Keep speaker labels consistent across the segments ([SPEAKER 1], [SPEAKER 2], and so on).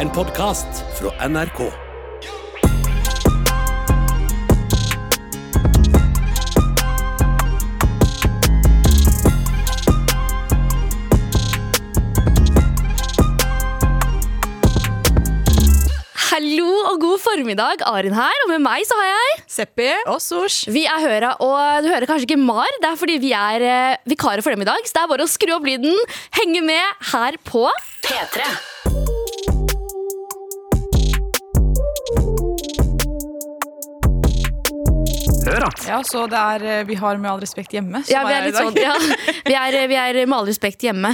[SPEAKER 1] En podkast fra NRK.
[SPEAKER 2] Hallo og god formiddag, Arin her, og med meg så har jeg
[SPEAKER 3] Seppi og Sosh.
[SPEAKER 2] Vi er Høra, og du hører kanskje ikke Mar, det er fordi vi er eh, vikarer for dem i dag, så det er bare å skru opp lyden, henge med her på
[SPEAKER 3] Ja, så det er eh, Vi har med all respekt hjemme. som
[SPEAKER 2] Ja, vi
[SPEAKER 3] er
[SPEAKER 2] er
[SPEAKER 3] her i
[SPEAKER 2] litt
[SPEAKER 3] dag.
[SPEAKER 2] sånn, ja. Vi er, vi er med all respekt hjemme.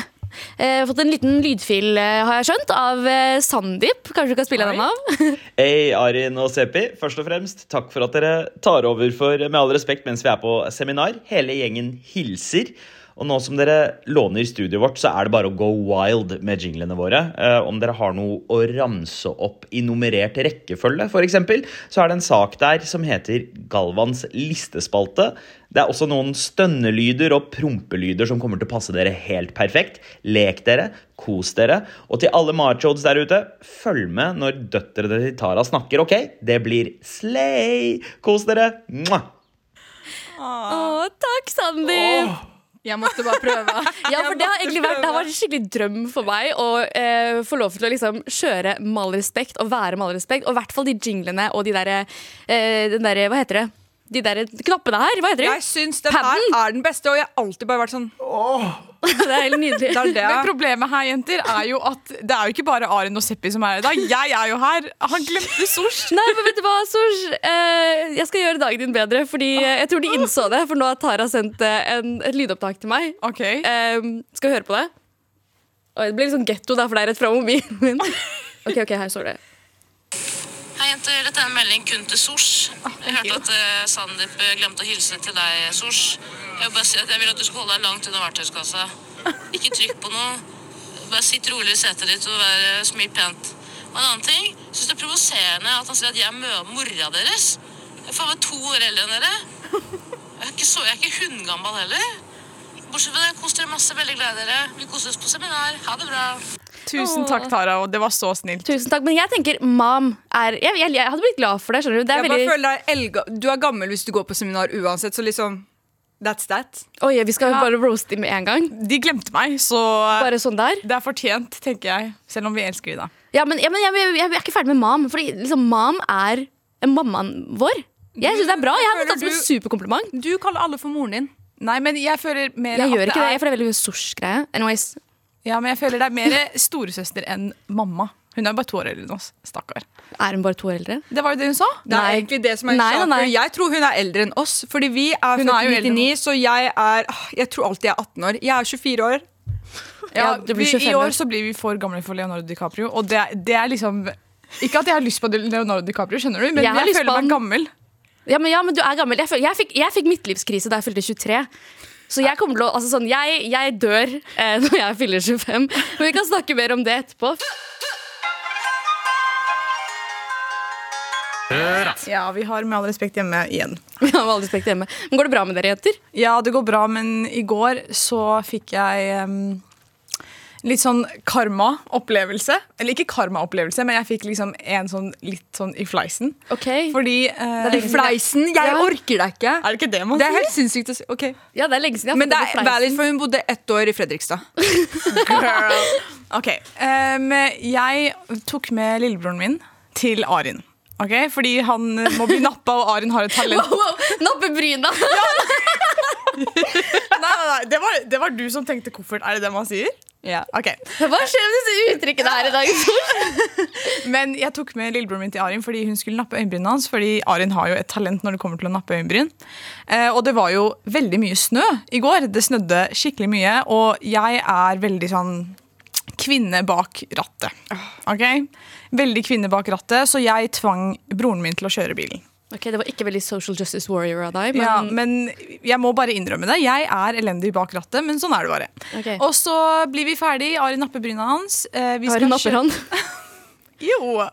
[SPEAKER 2] Eh, Jeg har fått en liten lydfil, eh, har jeg skjønt, av eh, Sandeep. Kanskje du kan spille
[SPEAKER 3] Oi.
[SPEAKER 2] den av?
[SPEAKER 4] Hei, Arin og Seppi. Først og fremst, takk for at dere tar over for Med all respekt mens vi er på seminar. Hele gjengen hilser. Og nå som dere låner studioet vårt, så er det bare å go wild med jinglene våre. Eh, om dere har noe å ramse opp i nummerert rekkefølge, f.eks., så er det en sak der som heter Galvans listespalte. Det er også noen stønnelyder og prompelyder som kommer til å passe dere helt perfekt. Lek dere, kos dere. Og til alle machods der ute, følg med når døtrene til Tara snakker, OK? Det blir slay! Kos dere! Mwah!
[SPEAKER 2] Å, takk, Sandeep!
[SPEAKER 3] Jeg måtte bare prøve.
[SPEAKER 2] Ja, for det har egentlig vært, det har vært en skikkelig drøm for meg å eh, få lov til å liksom kjøre med all respekt og være med all respekt. Og i hvert fall de jinglene og de derre eh, Den derre, hva heter det? De derre knappene her, hva heter
[SPEAKER 3] Jeg
[SPEAKER 2] de?
[SPEAKER 3] syns den her
[SPEAKER 2] Padden?
[SPEAKER 3] er den beste, og jeg har alltid bare vært sånn
[SPEAKER 2] Det er helt nydelig.
[SPEAKER 3] det er det.
[SPEAKER 5] Men problemet her, jenter, er jo at det er jo ikke bare Arin og Seppi som er her i dag. Jeg er jo her! Han glemte Sosh.
[SPEAKER 2] Nei, men vet du hva, Sosh? Eh, jeg skal gjøre dagen din bedre, fordi eh, jeg tror de innså det. For nå har Tara sendt eh, en, et lydopptak til meg.
[SPEAKER 5] Ok,
[SPEAKER 2] Eh, skal vi høre på det? Oi, det blir litt sånn getto der, for det er rett fra mobilen min. OK, ok, her står det.
[SPEAKER 6] Hei jenter, dette er en melding kun til Sors. Jeg hørte at eh, Sandeep eh, glemte å hilse til deg, Sors. Jeg vil bare si at jeg vil at du skal holde deg langt unna verktøyskassa. Ikke trykk på noe. Bare sitt rolig i setet ditt og vær, eh, smil pent. Og en annen ting, jeg synes det er provoserende at han sier at jeg er mø- mora deres. Jeg er faen meg to år eldre enn dere. Jeg er ikke, så, jeg er ikke hundgammel heller. Bortsett fra det, kos dere masse. Veldig glad i dere. Vi koser oss på seminar. Ha det bra.
[SPEAKER 5] Tusen takk, Tara. Og det var så snilt.
[SPEAKER 2] Tusen takk, men jeg tenker mom er Jeg, jeg, jeg hadde blitt glad for det, skjønner du. Det er
[SPEAKER 3] Jeg bare
[SPEAKER 2] veldig,
[SPEAKER 3] føler deg elga Du er gammel hvis du går på seminar uansett, så liksom That's that.
[SPEAKER 2] oi, vi skal bare roaste dem med en gang.
[SPEAKER 5] De glemte meg, så eh,
[SPEAKER 2] Bare sånn der.
[SPEAKER 5] det er fortjent, tenker jeg. Selv om vi elsker de, da.
[SPEAKER 2] Ja, men, ja, men jeg, jeg, jeg er ikke ferdig med mom, Fordi liksom mom er mammaen vår. Jeg syns det er bra. Jeg har
[SPEAKER 3] Føler
[SPEAKER 2] tatt det som en
[SPEAKER 3] du-
[SPEAKER 2] superkompliment.
[SPEAKER 3] Du kaller alle for moren din.
[SPEAKER 5] Nei, men jeg føler mer
[SPEAKER 2] Jeg
[SPEAKER 5] at
[SPEAKER 2] gjør ikke det,
[SPEAKER 5] er-
[SPEAKER 2] jeg får det er veldig sosh-greie. Anyways.
[SPEAKER 5] Ja, men jeg føler det er mer storesøster enn mamma. Hun er bare to år eldre enn oss. Stakkar.
[SPEAKER 2] Er hun bare to år eldre?
[SPEAKER 5] Det var jo det hun sa.
[SPEAKER 3] Det er
[SPEAKER 2] Nei.
[SPEAKER 3] egentlig det som er
[SPEAKER 2] Nei, nei,
[SPEAKER 3] saken.
[SPEAKER 2] nei.
[SPEAKER 3] Jeg tror hun er eldre enn oss, fordi vi er
[SPEAKER 5] Hun er jo
[SPEAKER 3] født i
[SPEAKER 5] eldre enn
[SPEAKER 3] 99, så jeg er ah, Jeg tror alltid jeg er 18 år. Jeg er 24 år.
[SPEAKER 2] Ja,
[SPEAKER 5] Ja,
[SPEAKER 2] det blir
[SPEAKER 5] vi-
[SPEAKER 2] 25
[SPEAKER 5] I år
[SPEAKER 2] år.
[SPEAKER 5] så blir vi for gamle for Leonardo DiCaprio. Og det, er- det er liksom Ikke at jeg har lyst på Leonardo DiCaprio, skjønner du, men
[SPEAKER 2] Jeg
[SPEAKER 5] jeg,
[SPEAKER 2] har lyst på
[SPEAKER 5] føler
[SPEAKER 2] han.
[SPEAKER 5] meg gammel.
[SPEAKER 2] Ja, men, ja, men du er gammel. Jeg, føl- jeg, fikk, jeg fikk midtlivskrise da jeg fylte 23. Så jeg kommer til å Altså sånn, jeg, jeg dør eh, når jeg fyller 25. Men vi kan snakke mer om det etterpå.
[SPEAKER 5] Ja, vi har med all respekt hjemme igjen.
[SPEAKER 2] Vi har med all respekt hjemme. Men går det bra med dere, jenter?
[SPEAKER 5] Ja, det går bra, men i går så fikk jeg em, litt sånn karma-opplevelse. Eller ikke karma-opplevelse, men jeg fikk liksom en sånn litt sånn i fleisen.
[SPEAKER 2] Ok.
[SPEAKER 5] Fordi eh,
[SPEAKER 2] Det er lenge
[SPEAKER 3] Fleisen! Jeg
[SPEAKER 2] Ja.
[SPEAKER 3] orker deg ikke.
[SPEAKER 5] Er det ikke det man
[SPEAKER 3] Det er
[SPEAKER 5] sier?
[SPEAKER 3] helt sinnssykt å si. Ok.
[SPEAKER 2] Ja, det er lenge siden jeg har
[SPEAKER 3] Men det
[SPEAKER 2] fått
[SPEAKER 3] er
[SPEAKER 2] en fleis.
[SPEAKER 3] valid, for hun bodde ett år i Fredrikstad.
[SPEAKER 5] Ok, em, jeg tok med lillebroren min til Arin. Ok, Fordi han eh, må bli nappa, og Arin har et talent.
[SPEAKER 2] Wow, nappe bryna!
[SPEAKER 5] Nei, nei, nei, det var, det var du som tenkte koffert. Er det det man sier?
[SPEAKER 3] Ja.
[SPEAKER 5] Ok,
[SPEAKER 2] Hva skjer med disse uttrykkene her i dag?
[SPEAKER 5] Men jeg tok med lillebroren min til Arin fordi hun skulle nappe øyenbrynene hans. Fordi Arin har jo et talent når det kommer til å nappe øyenbryn. Eh, og det var jo veldig mye snø i går. Det snødde skikkelig mye, og jeg er veldig sånn kvinne bak rattet. Ok? Veldig kvinne bak rattet, så jeg tvang broren min til å kjøre bilen.
[SPEAKER 2] Ok, Det var ikke veldig social justice warrior av deg, men
[SPEAKER 5] Ja, men jeg må bare innrømme det. Jeg er elendig bak rattet, men sånn er det bare.
[SPEAKER 2] Ok.
[SPEAKER 5] Og så blir vi ferdig. Arin napper bryna hans. Eh, vi
[SPEAKER 2] har hun
[SPEAKER 5] skal
[SPEAKER 2] napper
[SPEAKER 5] kjø-
[SPEAKER 2] han?
[SPEAKER 5] Jo.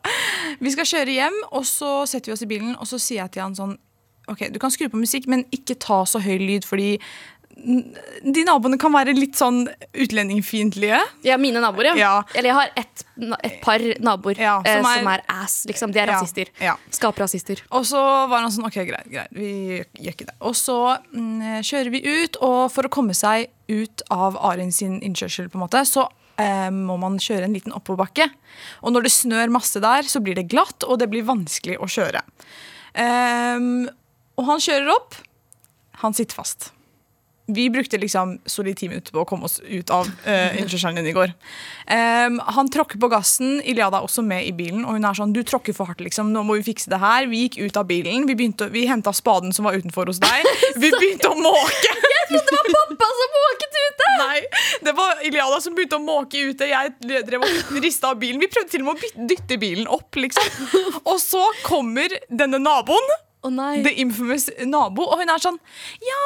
[SPEAKER 5] Vi skal kjøre hjem, og så setter vi oss i bilen, og så sier jeg til han sånn Ok, du kan skru på musikk, men ikke ta så høy lyd, fordi de naboene kan være litt sånn utlendingfiendtlige.
[SPEAKER 2] Ja, mine naboer, ja.
[SPEAKER 5] Ja.
[SPEAKER 2] Eller jeg har et, et par naboer
[SPEAKER 5] Ja,
[SPEAKER 2] eh,
[SPEAKER 5] som er-
[SPEAKER 2] som er ass, liksom. De er
[SPEAKER 5] Ja,
[SPEAKER 2] rasister.
[SPEAKER 5] ja.
[SPEAKER 2] Skaper rasister.
[SPEAKER 5] Og så var han sånn OK, greit, greit. Vi gjør- gjør ikke det. Og så mm, kjører vi ut, og for å komme seg ut av Arin sin innkjørsel, på en måte, så eh, må man kjøre en liten oppoverbakke. Og når det snør masse der, så blir det glatt, og det blir vanskelig å kjøre. Ehm, og han kjører opp. Han sitter fast. Vi brukte liksom solid ti minutter på å komme oss ut av uh, innkjørselen din i går. Ehm, han tråkker på gassen. Iliada er også med i bilen. Og hun er sånn 'Du tråkker for hardt, liksom. Nå må vi fikse det her.' Vi gikk ut av bilen. Vi, begynte, å- vi henta spaden som var utenfor hos deg. Vi begynte å måke.
[SPEAKER 2] Pappa som måket ute!
[SPEAKER 5] Nei, det var Iliada som begynte å måke ute. Jeg drev og rista av bilen. Vi prøvde til og med å byt- dytte bilen opp, liksom. Og så kommer denne naboen.
[SPEAKER 2] Å nei.
[SPEAKER 5] The infamous nabo. Og hun er sånn Ja,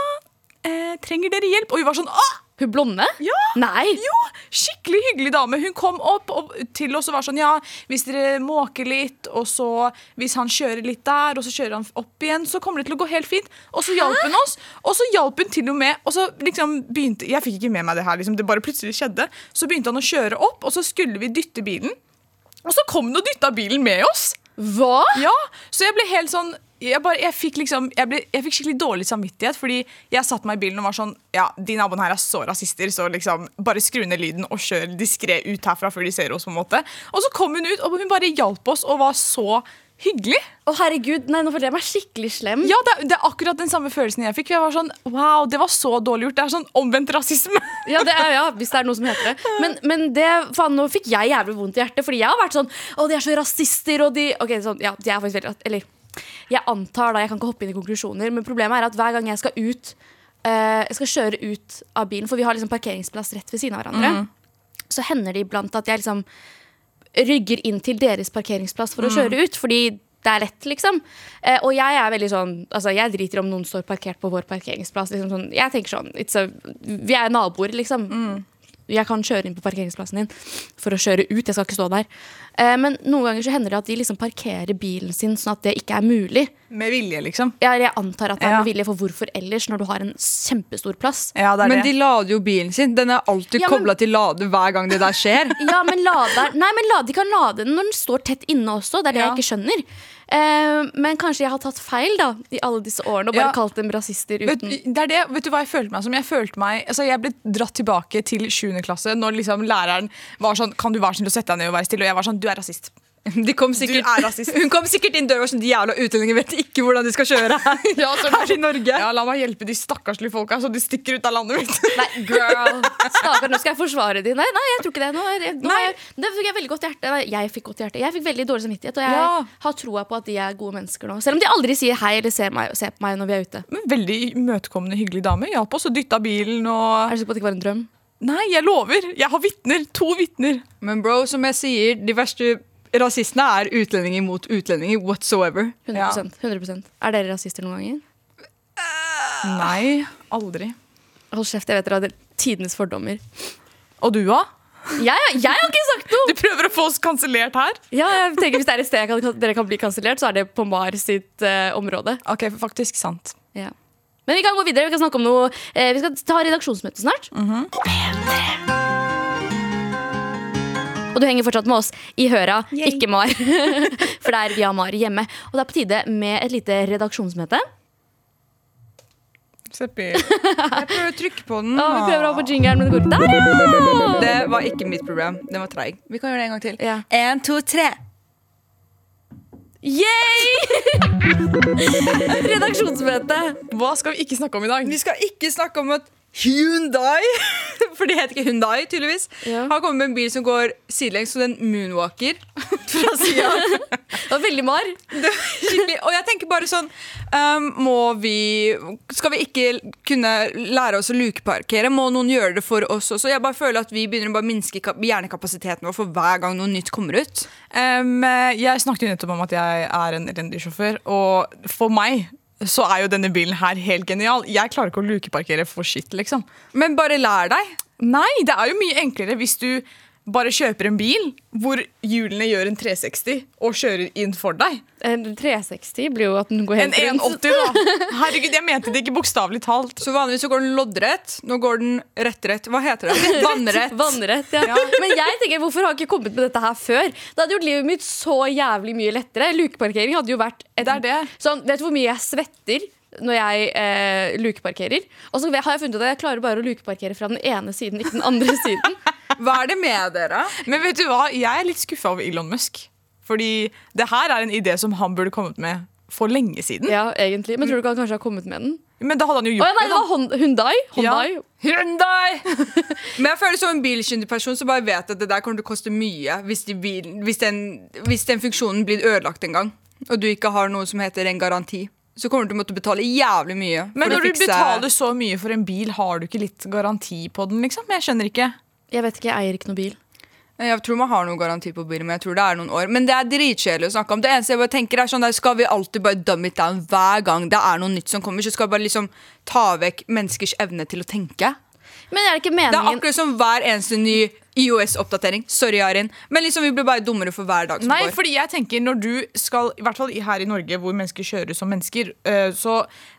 [SPEAKER 5] eh, trenger dere hjelp? Og vi var sånn Åh!
[SPEAKER 2] Hun blonde?
[SPEAKER 5] Ja!
[SPEAKER 2] Nei!
[SPEAKER 5] Jo, skikkelig hyggelig dame. Hun kom opp og, til oss og var sånn Ja, hvis dere måker litt, og så hvis han kjører litt der, og så kjører han opp igjen, så kommer det til å gå helt fint. Og så hjalp hun oss, og så hjalp hun til og med Og så liksom begynte Jeg fikk ikke med meg det her, liksom. Det bare plutselig skjedde. Så begynte han å kjøre opp, og så skulle vi dytte bilen. Og så kom han og dytta bilen med oss.
[SPEAKER 2] Hva?
[SPEAKER 5] Ja, så jeg ble helt sånn jeg, bare, jeg, fikk liksom, jeg, ble, jeg fikk skikkelig dårlig samvittighet Fordi jeg satt meg i bilen og var sånn Ja, de naboene her er så rasister Så liksom, bare skru ned lyden og kjør diskret ut herfra Før de ser oss på en måte Og så kom hun ut, og hun bare hjalp oss Og var så hyggelig
[SPEAKER 2] Å herregud, nei, nå føler jeg meg skikkelig slem.
[SPEAKER 5] Ja, det, er- det er akkurat den samme følelsen jeg fikk Jeg var sånn, wow, det var så dårlig gjort Det er sånn omvendt rasisme
[SPEAKER 2] Ja, det er, ja, hvis det er noe som heter det. Men, men det, faen, nå fikk jeg jævlig vondt i hjertet, fordi jeg har vært sånn Å, de er så rasister, og de Ok, sånn, ja, de er faktisk veldig ras- Eller jeg antar, da, jeg kan ikke hoppe inn i konklusjoner, men problemet er at hver gang jeg skal ut eh, Jeg skal kjøre ut av bilen, for vi har liksom parkeringsplass rett ved siden av hverandre, så hender det iblant at jeg liksom rygger inn til deres parkeringsplass
[SPEAKER 5] Mm.
[SPEAKER 2] for å kjøre ut, fordi det er lett, liksom. Eh, og jeg er veldig sånn Altså, jeg driter om noen står parkert på vår parkeringsplass. Liksom sånn, jeg tenker sånn it's a, Vi er naboer, liksom.
[SPEAKER 5] Mm.
[SPEAKER 2] Jeg kan kjøre inn på parkeringsplassen din for å kjøre ut. Jeg skal ikke stå der. Eh, men noen ganger så hender det at de liksom parkerer bilen sin sånn at det ikke er mulig.
[SPEAKER 5] Med vilje liksom
[SPEAKER 2] Jeg, jeg antar at det er
[SPEAKER 3] Ja.
[SPEAKER 2] med vilje, for hvorfor ellers, når du har en kjempestor plass?
[SPEAKER 5] Ja, det er
[SPEAKER 3] Men
[SPEAKER 5] det
[SPEAKER 3] de lader jo bilen sin. Den er alltid
[SPEAKER 2] Ja, men-
[SPEAKER 3] kobla til lade hver gang det der skjer.
[SPEAKER 2] Ja, men lader Nei, men lade, de kan lade den når den står tett inne også. Det er det
[SPEAKER 5] Ja.
[SPEAKER 2] jeg ikke skjønner. Eh, men kanskje jeg har tatt feil da i alle disse årene og bare
[SPEAKER 5] Ja.
[SPEAKER 2] kalt dem rasister
[SPEAKER 5] Vet,
[SPEAKER 2] uten
[SPEAKER 5] det er det. Vet du hva jeg følte meg som? Jeg følte meg, altså jeg ble dratt tilbake til 7. klasse når liksom læreren var sånn Kan du være snill å sette deg ned og være stille? Og jeg var sånn Du er rasist.
[SPEAKER 3] De kom sikkert,
[SPEAKER 5] Du er rasist.
[SPEAKER 3] Hun kom sikkert inn døra og var sånn De jævla utlendinger vet ikke hvordan de skal kjøre her. her i Norge.
[SPEAKER 5] altså, Ja, la meg hjelpe de stakkarslige folka så de stikker ut av landet mitt.
[SPEAKER 2] Nei, girl! Stakkar, nå skal jeg forsvare de. Nei, nei, jeg tror ikke det. Nå, er jeg, nå har jeg, det fikk jeg veldig godt hjerte. Nei, jeg fikk godt hjerte. Jeg fikk veldig dårlig samvittighet, og jeg
[SPEAKER 5] Ja.
[SPEAKER 2] har troa på at de er gode mennesker nå. Selv om de aldri sier hei eller ser, meg, ser på meg når vi er ute.
[SPEAKER 5] Men veldig imøtekommende, hyggelig dame. Hjalp oss og dytta bilen og
[SPEAKER 2] Er du sikker på at det ikke var en drøm?
[SPEAKER 5] Nei, jeg lover! Jeg har vitner. To vitner.
[SPEAKER 3] Men bro, som jeg sier, de verste rasistene er utlendinger mot utlendinger whatsoever.
[SPEAKER 2] 100%, 100%. Er dere rasister noen ganger?
[SPEAKER 5] Nei, aldri.
[SPEAKER 2] Hold kjeft, jeg vet dere hadde tidenes fordommer.
[SPEAKER 5] Og du, da?
[SPEAKER 2] Jeg, jeg har ikke sagt noe!
[SPEAKER 5] Du prøver å få oss kansellert her?
[SPEAKER 2] Ja, jeg tenker Hvis det er et sted jeg kan, dere kan bli kansellert, så er det på Mar sitt eh, område.
[SPEAKER 5] OK, faktisk sant.
[SPEAKER 2] Ja. Men vi kan gå videre. Vi kan snakke om noe eh, Vi skal ta redaksjonsmøte snart. Og du henger fortsatt med oss i høra, ikke Mar. For det er vi har Mar hjemme. Og det er på tide med et lite redaksjonsmøte.
[SPEAKER 5] Seppi.
[SPEAKER 3] Jeg prøver å trykke på den.
[SPEAKER 2] Å, vi prøver å ha på jingeren, men det går ikke. Der, ja!
[SPEAKER 3] Det var ikke mitt problem. Den var treig. Vi kan gjøre det en gang til.
[SPEAKER 2] Ja.
[SPEAKER 3] En, to, tre.
[SPEAKER 2] Yay! Redaksjonsmøte.
[SPEAKER 5] Hva skal vi ikke snakke om i dag?
[SPEAKER 3] Vi skal ikke snakke om at Hyundai, for det heter ikke Hyundai tydeligvis,
[SPEAKER 2] Ja.
[SPEAKER 3] har kommet med en bil som går sidelengs, så den moonwalker fra sida.
[SPEAKER 2] Det var veldig Mar.
[SPEAKER 3] Skikkelig. Og jeg tenker bare sånn um, Må vi Skal vi ikke kunne lære oss å lukeparkere? Må noen gjøre det for oss også? Jeg bare føler at vi begynner å bare minske kap- hjernekapasiteten vår for hver gang noe nytt kommer ut.
[SPEAKER 5] Em, Ehm, jeg snakket jo nettopp om at jeg er en elendigsjåfør, og for meg så er jo denne bilen her helt genial. Jeg klarer ikke å lukeparkere for shit, liksom.
[SPEAKER 3] Men bare lær deg.
[SPEAKER 5] Nei, det er jo mye enklere hvis du bare kjøper en bil hvor hjulene gjør en 360 og kjører inn for deg.
[SPEAKER 2] En 360 blir jo at den går
[SPEAKER 5] En
[SPEAKER 2] helt rundt.
[SPEAKER 5] 180, da! Herregud, jeg mente det ikke bokstavelig talt.
[SPEAKER 3] Så vanligvis så går den loddrett. Nå går den rettrett. Hva heter det? Vannrett.
[SPEAKER 2] Vannrett, ja. Men jeg tenker, hvorfor har jeg ikke kommet med dette her før? Det hadde gjort livet mitt så jævlig mye lettere. Lukeparkering hadde jo vært et,
[SPEAKER 5] Det er det.
[SPEAKER 2] Sånn, Vet du hvor mye jeg svetter når jeg eh, lukeparkerer? Og så har jeg funnet ut at jeg klarer bare å lukeparkere fra den ene siden, ikke den andre siden.
[SPEAKER 3] Hva er det med dere?
[SPEAKER 5] Men vet du hva, jeg er litt skuffa over Elon Musk. Fordi det her er en idé som han burde kommet med for lenge siden.
[SPEAKER 2] Ja, egentlig. Men tror du ikke han kanskje har kommet med den?
[SPEAKER 5] Men da hadde han jo
[SPEAKER 2] Å
[SPEAKER 5] gjort
[SPEAKER 2] ja, nei, det var Hon- Hyundai. Hyundai.
[SPEAKER 5] Hyundai!
[SPEAKER 3] Men jeg føler som en bilkyndig person som bare vet at det der kommer til å koste mye hvis, de bil, hvis, den, hvis den funksjonen blir ødelagt en gang, og du ikke har noe som heter en garanti. Så kommer du til å måtte betale jævlig mye.
[SPEAKER 5] Men
[SPEAKER 3] for å
[SPEAKER 5] når du
[SPEAKER 3] fikse-
[SPEAKER 5] betaler så mye for en bil, har du ikke litt garanti på den? liksom? Jeg skjønner ikke.
[SPEAKER 2] Jeg vet ikke, jeg eier ikke noen bil.
[SPEAKER 3] Jeg tror man har noen garanti på bilen, men jeg tror det er noen år. Men det er dritkjedelig å snakke om. Det eneste jeg bare tenker er sånn der Skal vi alltid bare dumb it down hver gang det er noe nytt som kommer? Så skal vi bare liksom ta vekk menneskers evne til å tenke?
[SPEAKER 2] Men er det ikke
[SPEAKER 3] Det er
[SPEAKER 2] meningen
[SPEAKER 3] akkurat som hver eneste ny IOS-oppdatering. Sorry, Arin. Men liksom vi blir bare dummere for hver dag som
[SPEAKER 5] Nei,
[SPEAKER 3] går.
[SPEAKER 5] fordi jeg tenker når du skal, i hvert fall i- her i Norge hvor mennesker kjører som mennesker, eh, så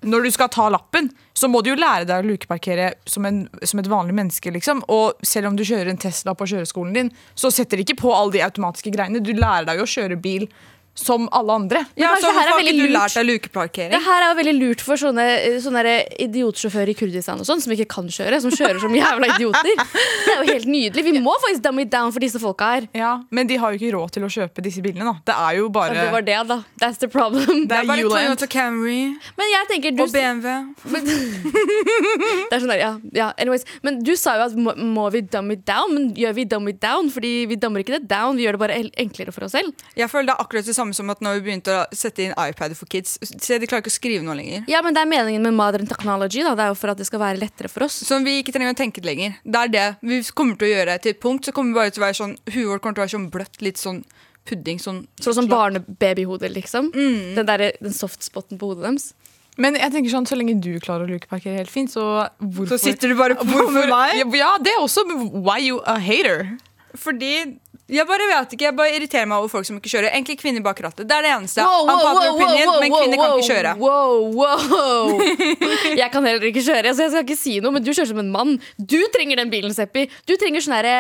[SPEAKER 5] når du skal ta lappen, så må du jo lære deg å lukeparkere som, en, som et vanlig menneske, liksom. Og selv om du kjører en Tesla på kjøreskolen din, så setter de ikke på alle de automatiske greiene. Du lærer deg jo å kjøre bil som alle andre. altså,
[SPEAKER 3] Ja,
[SPEAKER 2] kanskje
[SPEAKER 3] så
[SPEAKER 2] det her er
[SPEAKER 3] hvorfor har
[SPEAKER 2] veldig
[SPEAKER 3] ikke du
[SPEAKER 2] lurt.
[SPEAKER 3] lært deg
[SPEAKER 2] Det
[SPEAKER 3] lukeparkering?
[SPEAKER 2] her er jo veldig lurt for sånne, eh, sånne der idiotsjåfører i Kurdistan og sånn, som ikke kan kjøre, som kjører som jævla idioter. Det er jo helt nydelig. Vi må faktisk dumb it down for disse folka her.
[SPEAKER 5] Ja, Men de har jo ikke råd til å kjøpe disse bilene, da. Det er jo bare
[SPEAKER 2] Det var det, da. That's the problem.
[SPEAKER 5] Det
[SPEAKER 3] Det
[SPEAKER 5] er
[SPEAKER 3] er bare
[SPEAKER 5] Julian.
[SPEAKER 3] Toyota Camry
[SPEAKER 2] Men jeg tenker du,
[SPEAKER 3] og BMW.
[SPEAKER 2] Det er sånn der, ja, ja, anyways. Men du sa jo at må, må vi dumb it down? Men gjør vi dumb it down? Fordi vi dummer ikke det down, vi gjør det bare el- enklere for oss selv.
[SPEAKER 3] Jeg føler det er akkurat det samme som at når vi begynte å sette inn iPad for kids. Se, de klarer ikke å skrive noe lenger.
[SPEAKER 2] Ja, men det er meningen med modern technology, da. Det er jo for at det skal være lettere for oss.
[SPEAKER 3] Som vi ikke trenger å tenke det lenger. Det er det vi kommer til å gjøre til et punkt. Så kommer vi bare til å være sånn Huet vårt kommer til å være sånn bløtt, litt sånn pudding. Sånn
[SPEAKER 2] Sånn som barnebabyhoder, liksom.
[SPEAKER 5] Mm.
[SPEAKER 2] Den, der, den softspotten på hodet deres.
[SPEAKER 5] Men jeg tenker sånn, så lenge du klarer å lukeparkere helt fint, så hvorfor
[SPEAKER 3] Så sitter du bare på hvorfor meg?
[SPEAKER 5] Ja, ja, det er også why you a hater.
[SPEAKER 3] Fordi jeg bare vet ikke, jeg bare irriterer meg over folk som ikke kjører. Egentlig kvinner bak rattet. Det er det eneste.
[SPEAKER 2] Wow, wow,
[SPEAKER 3] Unpopular
[SPEAKER 2] wow, wow,
[SPEAKER 3] opinion,
[SPEAKER 2] wow,
[SPEAKER 3] men kvinner kan
[SPEAKER 2] wow,
[SPEAKER 3] ikke kjøre.
[SPEAKER 2] Wow, wow. Jeg kan heller ikke kjøre, så jeg skal ikke si noe, men du kjører som en mann. Du trenger den bilen, Seppi. Du trenger sånn herre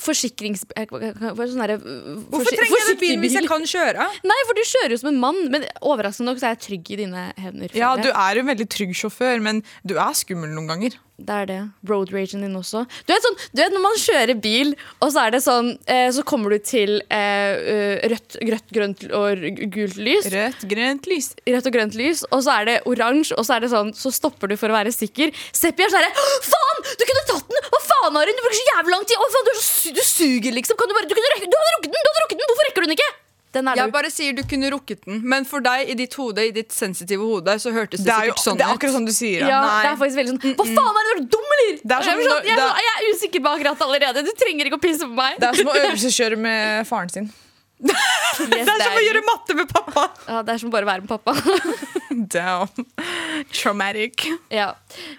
[SPEAKER 2] forsikrings... eh, hva- Sånn herre
[SPEAKER 3] Hvorfor trenger jeg den bilen hvis jeg kan kjøre?
[SPEAKER 2] Nei, for du kjører jo som en mann, men overraskende nok så er jeg trygg i dine hevner. føler
[SPEAKER 5] Ja,
[SPEAKER 2] jeg.
[SPEAKER 5] du er en veldig trygg sjåfør, men du er skummel noen ganger.
[SPEAKER 2] Det er det. Road ragen din også. Du vet, sånn, du vet når man kjører bil, og så er det sånn eh, Så kommer du til eh, eh, rødt, grønt, grønt og gult lys.
[SPEAKER 5] Rødt, grønt lys.
[SPEAKER 2] rødt og grønt lys, og så er det oransje, og så er det sånn, så stopper du for å være sikker. Seppi er sånn herre Faen! Du kunne tatt den! Hva faen, Arin? Du bruker så jævlig lang tid! Å, faen, du, er så, su- du suger, liksom! Kan du bare Du, kunne rekke, du hadde rukket den! Du hadde rukket den! Hvorfor rekker du den ikke? Den er
[SPEAKER 3] Jeg
[SPEAKER 2] lurt.
[SPEAKER 3] bare sier du kunne rukket den, men for deg, i ditt hode, i ditt sensitive hode, så hørtes det,
[SPEAKER 5] Det er jo
[SPEAKER 3] sikkert sånn
[SPEAKER 5] det er
[SPEAKER 3] ut.
[SPEAKER 5] akkurat sånn du sier.
[SPEAKER 2] Ja,
[SPEAKER 5] Nei.
[SPEAKER 2] det er faktisk veldig sånn Hva faen, er det du er dum, eller?
[SPEAKER 5] Det er
[SPEAKER 2] jeg,
[SPEAKER 5] som
[SPEAKER 2] blir sånn,
[SPEAKER 5] når-
[SPEAKER 2] jeg, er
[SPEAKER 5] det-
[SPEAKER 2] sånn, jeg er usikker bak rattet allerede. Du trenger ikke å pisse på meg.
[SPEAKER 5] Det er som å øvelseskjøre med faren sin.
[SPEAKER 2] sånn, Yes, det er-
[SPEAKER 5] matte med pappa!
[SPEAKER 2] ja, det er som bare å være med pappa.
[SPEAKER 5] Damn. Traumatic.
[SPEAKER 2] ja.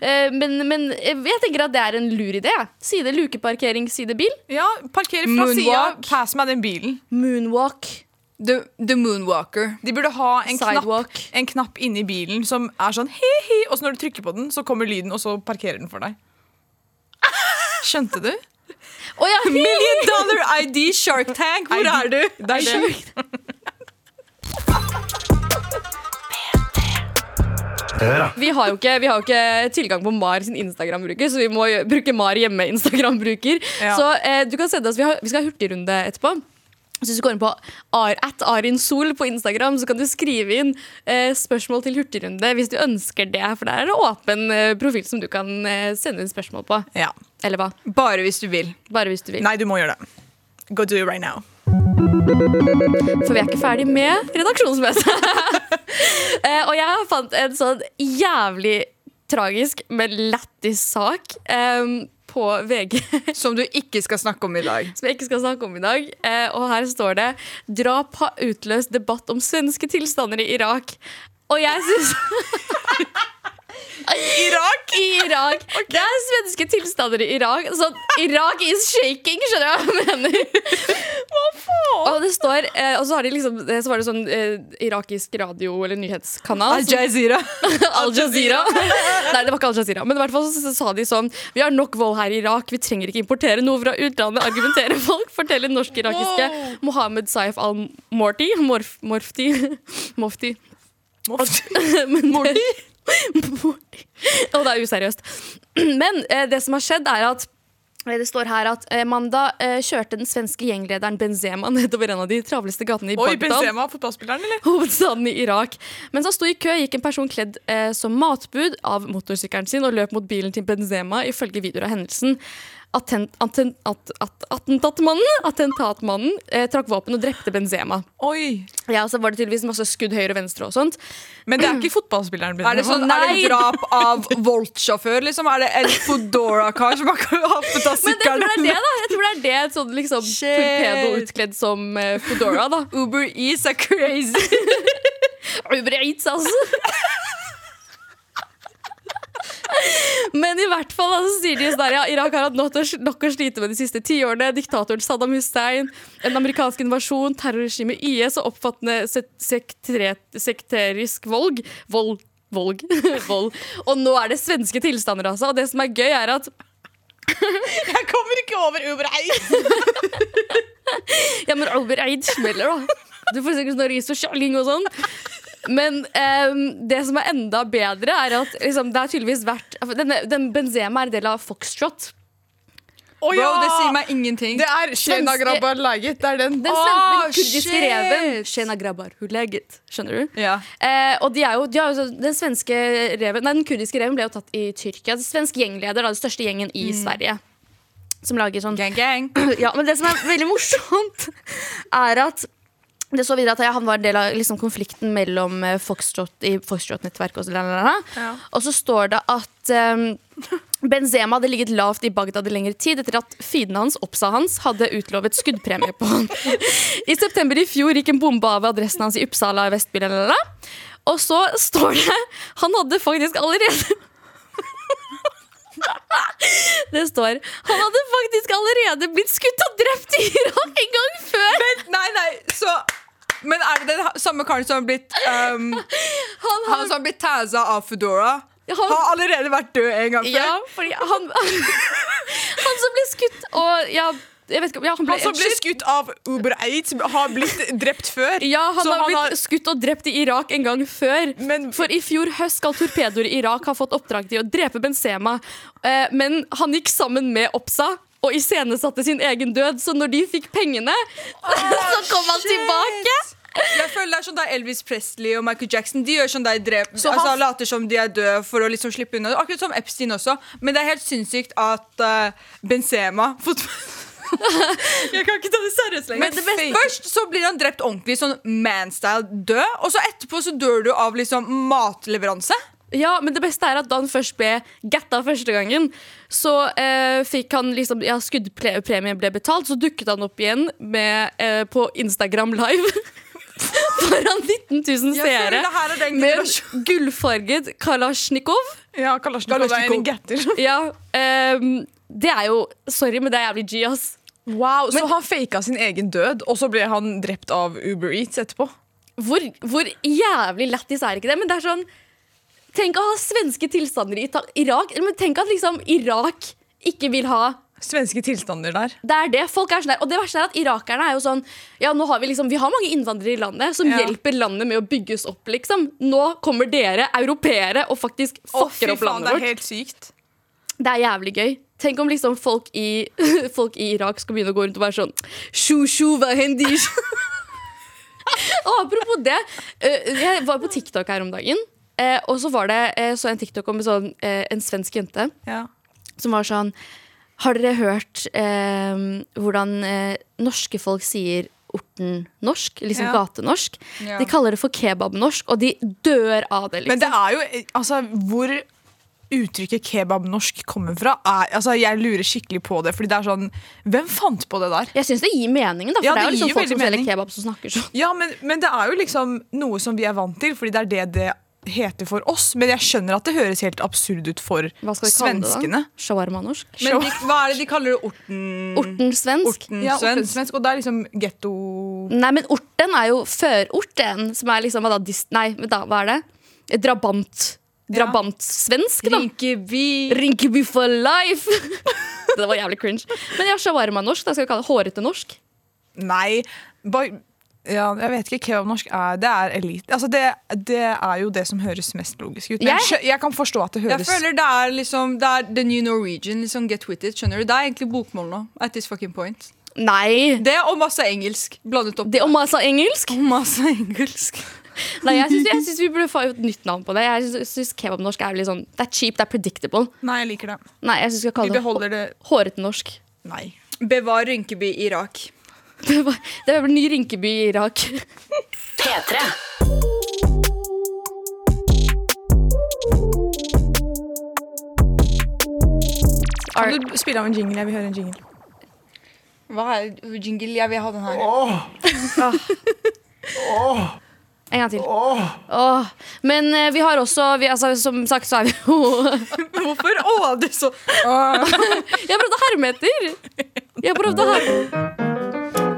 [SPEAKER 2] Eh, men, men jeg tenker at det er en lur idé. jeg. Side lukeparkering, side bil.
[SPEAKER 5] Ja, parkere fra sida.
[SPEAKER 3] Moonwalk.
[SPEAKER 5] Pass meg den bilen.
[SPEAKER 2] Moonwalk.
[SPEAKER 3] The, the Moonwalker.
[SPEAKER 5] De burde ha en
[SPEAKER 2] Sidewalk.
[SPEAKER 5] knapp, en knapp inni bilen som er sånn hi-hi, og så når du trykker på den, så kommer lyden, og så parkerer den for deg. Skjønte du?
[SPEAKER 2] Å ja,
[SPEAKER 3] Million Dollar ID Shark Tank, hvor er du?
[SPEAKER 5] Det er det.
[SPEAKER 2] Vi har, jo ikke, vi har jo ikke tilgang på Mar sin Instagram-bruker, så vi må jo bruke Mar hjemme Instagram-bruker.
[SPEAKER 5] Ja.
[SPEAKER 2] Så eh, du kan sende oss, vi, har, vi skal ha hurtigrunde etterpå. Så Hvis du går inn på ar, at Arin Sol på Instagram, så kan du skrive inn eh, spørsmål til hurtigrunde hvis du ønsker det. For der er det åpen eh, profil som du kan eh, sende inn spørsmål på.
[SPEAKER 5] Ja.
[SPEAKER 2] Eller hva?
[SPEAKER 3] Bare hvis du vil.
[SPEAKER 2] Bare hvis du vil.
[SPEAKER 5] Nei, du må gjøre det. Go do it right now.
[SPEAKER 2] For vi er ikke ferdig med redaksjonsmøtet. Eh, og jeg fant en sånn jævlig tragisk, men lættis sak eh, på VG
[SPEAKER 3] Som du ikke skal snakke om i dag.
[SPEAKER 2] som jeg ikke skal snakke om i dag. Eh, og her står det 'Drap har utløst debatt om svenske tilstander i Irak'. Og jeg syns
[SPEAKER 5] Irak?
[SPEAKER 2] I Irak. Det er svenske tilstander i Irak. Sånn Irak is shaking, skjønner du hva jeg mener? Og det står eh, Og så, har de liksom, eh, så var det sånn eh, irakisk radio- eller nyhetskanal. som-
[SPEAKER 3] Al-Jazeera.
[SPEAKER 2] Al Jazeera. Nei, det var ikke Al Jazeera. Men i hvert fall så sa de sånn Vi har nok vold her i Irak, vi trenger ikke importere noe fra utlandet. Argumentere folk, fortelle norsk-irakiske Mohammed Saif al-Morti. Morf, morfti. Mofti. Morti? Morti. Og det er useriøst. Men eh, det som har skjedd, er at eh, det står her at eh, mandag eh, kjørte den svenske gjenglederen Benzema nedover en av de travleste gatene i
[SPEAKER 5] Oi,
[SPEAKER 2] Bagdad
[SPEAKER 5] Benzema, fotballspilleren, eller?
[SPEAKER 2] hovedstaden i Irak. Mens han sto i kø, gikk en person kledd eh, som matbud av motorsykkelen sin og løp mot bilen til Benzema, ifølge videoer av hendelsen. Attent, atten- at, at, attentatmannen attentatmannen eh, trakk våpen og drepte Benzema.
[SPEAKER 5] Oi.
[SPEAKER 2] Ja, så var det tydeligvis masse skudd høyre og venstre og sånt.
[SPEAKER 5] Men det er ikke fotballspilleren Benzema.
[SPEAKER 3] Er det, sånn, er
[SPEAKER 2] Nei.
[SPEAKER 3] det drap av Volt-sjåfør? Liksom? Er det en Foodora-kar som har hatt
[SPEAKER 2] Men jeg tror det
[SPEAKER 3] av
[SPEAKER 2] er
[SPEAKER 3] sykkelen?
[SPEAKER 2] det, da. Jeg tror det er det et sånn liksom
[SPEAKER 3] Shit.
[SPEAKER 2] torpedo utkledd som eh, Foodora, da.
[SPEAKER 3] Uber Eats er crazy.
[SPEAKER 2] Uber Eats, altså. Men i hvert fall altså, sier de sånn her, ja, Irak har hatt nok å, nok å slite med de siste tiårene. Diktatoren Saddam Hussein, en amerikansk invasjon, terrorregimet IS og oppfattende se- sektere- sekterisk volg. Vold. Volg. Vold. Og nå er det svenske tilstander, altså. Og det som er gøy, er at
[SPEAKER 5] Jeg kommer ikke over Uber Eis.
[SPEAKER 2] Ja, men Albert Eid smeller, da. Du får sikkert sånn ris og kjalling og sånn. Men ehm, det som er enda bedre, er at liksom, det har tydeligvis vært altså, denne, den Benzema er en del av Foxtrot.
[SPEAKER 5] Oh,
[SPEAKER 3] Bro, det sier meg ingenting.
[SPEAKER 5] Det er Shena Grabbar Laget. Det er den.
[SPEAKER 2] Den, sven- den
[SPEAKER 3] Ah,
[SPEAKER 2] kurdiske
[SPEAKER 3] shit!
[SPEAKER 2] reven Shena Grabbar Huleget. Skjønner du?
[SPEAKER 3] Ja.
[SPEAKER 2] Eh, og de er jo, de har jo så- den svenske reven Nei, den kurdiske reven ble jo tatt i Tyrkia. Den svenske gjengleder, da, den største gjengen i
[SPEAKER 3] Mm.
[SPEAKER 2] Sverige. Som lager sånn
[SPEAKER 3] Gang, gang.
[SPEAKER 2] Ja, men det som er veldig morsomt, er at det så videre at han var en del av liksom, konflikten mellom eh, Foxtrot, i Foxtrot-nettverket. Og, så la, la, la. og så står det at eh, Benzema hadde ligget lavt i Bagdad i lengre tid etter at fienden hans, Opsa hans, hadde utlovet skuddpremie på han. I september i fjor gikk en bombe av ved adressen hans i Uppsala i Vestby. la, la, la. Og så står det Han hadde faktisk allerede Det står Han hadde faktisk allerede blitt skutt og drept i Irak en gang før!
[SPEAKER 3] Nei, nei, så Men er det den ha- samme karen som har blitt um,
[SPEAKER 2] Han
[SPEAKER 3] Han som har blitt tæsa av Foodora?
[SPEAKER 2] Ja, han-
[SPEAKER 3] Har allerede vært død en gang før?
[SPEAKER 2] Ja, fordi han Han som ble skutt og Ja, jeg vet ikke ja, Han ble,
[SPEAKER 5] Han som ble skutt av Uber Eid, har blitt drept før.
[SPEAKER 2] ja, han
[SPEAKER 5] Så
[SPEAKER 2] har
[SPEAKER 5] han
[SPEAKER 2] blitt
[SPEAKER 5] har-
[SPEAKER 2] skutt og drept i Irak en gang før.
[SPEAKER 5] Men-
[SPEAKER 2] For i fjor høst skal torpedoer i Irak ha fått oppdrag til å drepe Benzema. Eh, men han gikk sammen med Opsa og iscenesatte sin egen død, så når de fikk pengene, så kom han tilbake.
[SPEAKER 3] Jeg føler det er sånn der Elvis Presley og Michael Jackson De gjør sånn der drep,
[SPEAKER 2] Så han-
[SPEAKER 3] altså, later som de er døde for å liksom slippe unna. Akkurat som Epstein også. Men det er helt sinnssykt at eh, Benzema fot-
[SPEAKER 2] Jeg kan ikke ta det seriøst lenger.
[SPEAKER 3] Men først så blir han drept ordentlig, sånn manstyle død. Og så etterpå så dør du av liksom matleveranse.
[SPEAKER 2] Ja, men det beste er at da han først ble gatta første gangen, så eh, fikk han liksom Ja, skuddpremien ble betalt, så dukket han opp igjen med, eh, på Instagram Live. Foran 19 000
[SPEAKER 3] Jeg føler
[SPEAKER 2] seere
[SPEAKER 3] det her er den
[SPEAKER 2] med
[SPEAKER 3] generasjonen.
[SPEAKER 2] en gullfarget Kalasjnikov.
[SPEAKER 5] Ja, Kalasjnikov er en
[SPEAKER 3] Kalasjnikov.
[SPEAKER 5] gatter.
[SPEAKER 2] Ja, ehm, det er jo Sorry, men det er jævlig G, ass.
[SPEAKER 5] Wow, Så han faka sin egen død, og så ble han drept av Uber Eats etterpå?
[SPEAKER 2] Hvor, hvor jævlig lættis er ikke det? Men det er sånn Tenk å ha svenske tilstander i Ita- Irak. Men tenk at liksom Irak ikke vil ha
[SPEAKER 5] Svenske tilstander der.
[SPEAKER 2] Det er det. folk er sånn der Og det verste er at irakerne er jo sånn Ja, nå har vi liksom Vi har mange innvandrere i landet som
[SPEAKER 5] Ja.
[SPEAKER 2] hjelper landet med å bygges opp, liksom. Nå kommer dere, europeere, og faktisk fucker opp landet
[SPEAKER 5] det er
[SPEAKER 2] vårt.
[SPEAKER 5] helt sykt.
[SPEAKER 2] Det er jævlig gøy. Tenk om liksom folk i, folk i Irak skal begynne å gå rundt og være sånn shu, shu, hva hender?» Og Apropos det. eh, Jeg var på TikTok her om dagen, eh, og så var det eh, så en TikTok om en sånn, eh, en svensk jente
[SPEAKER 5] Ja.
[SPEAKER 2] som var sånn Har dere hørt eh, hvordan eh, norske folk sier orten norsk? Liksom
[SPEAKER 5] Ja.
[SPEAKER 2] gatenorsk.
[SPEAKER 3] Ja.
[SPEAKER 2] De kaller det for kebabnorsk, og de dør av det. Liksom.
[SPEAKER 5] Men det er jo Altså, hvor uttrykket kebabnorsk kommer fra, er, altså, jeg lurer skikkelig på det. Fordi det er sånn Hvem fant på det der?
[SPEAKER 2] Jeg syns det gir meningen, da, for
[SPEAKER 5] Ja,
[SPEAKER 2] det er jo
[SPEAKER 5] det
[SPEAKER 2] liksom
[SPEAKER 5] gir
[SPEAKER 2] folk
[SPEAKER 5] veldig
[SPEAKER 2] som selger
[SPEAKER 5] mening.
[SPEAKER 2] kebab, som snakker sånn.
[SPEAKER 5] Ja, men, men det er jo liksom noe som vi er vant til, fordi det er det det heter for oss, men jeg skjønner at det høres helt absurd ut for
[SPEAKER 2] Hva skal vi kalle det da?
[SPEAKER 5] svenskene.
[SPEAKER 2] Shawarma-norsk?
[SPEAKER 3] Men de, hva er det de kaller det? Orten?
[SPEAKER 2] Orten-svensk?
[SPEAKER 3] Orten
[SPEAKER 5] Ja,
[SPEAKER 3] svensk?
[SPEAKER 5] ortensvensk, og det er liksom getto...
[SPEAKER 2] Nei, men orten er jo førorten, som er liksom hva da, dis, Nei, men da, hva er det? Drabant. Drabantsvensk, da.
[SPEAKER 3] Rinkeby.
[SPEAKER 2] Rinkeby for life! det var jævlig cringe. Men ja, shawarma-norsk. da skal vi kalle det Hårete norsk.
[SPEAKER 5] Nei, bare... Ja, jeg vet ikke, kebabnorsk er, det er elite. Altså, det, det er jo det som høres mest logisk ut. Men
[SPEAKER 2] Jeg-
[SPEAKER 5] jeg, skjø- jeg kan forstå at det
[SPEAKER 3] Jeg
[SPEAKER 5] høres...
[SPEAKER 3] føler det er liksom Det er the new Norwegian. liksom Get with it. skjønner du? Det er egentlig bokmål nå. At this fucking point
[SPEAKER 2] Nei!
[SPEAKER 3] Det og masse engelsk blandet opp.
[SPEAKER 2] Det om altså engelsk?
[SPEAKER 3] Og masse engelsk.
[SPEAKER 2] Nei, jeg syns, jeg syns vi burde få et nytt navn på det. Jeg syns- syns kebabnorsk er litt sånn Det er cheap, det er predictable.
[SPEAKER 5] Nei, jeg liker det.
[SPEAKER 2] Nei, jeg syns vi skal
[SPEAKER 5] Vi
[SPEAKER 2] kalle det
[SPEAKER 5] beholder det...
[SPEAKER 2] hå- Hårete norsk.
[SPEAKER 5] Nei.
[SPEAKER 3] Bevar Rynkeby i Irak.
[SPEAKER 2] Det var- det var ny Rinkeby i Irak.
[SPEAKER 7] P3.
[SPEAKER 2] Ar-
[SPEAKER 5] Kan du spille av en jingle? Jeg vil høre en jingle.
[SPEAKER 3] Hva er jingle? Jeg vil ha den her.
[SPEAKER 2] En gang til. Åh. Men eh, vi har også vi, altså, Som sagt så er vi jo
[SPEAKER 3] Hvorfor? Å, du så
[SPEAKER 2] Jeg prøvde å herme etter! Jeg prøvde å herme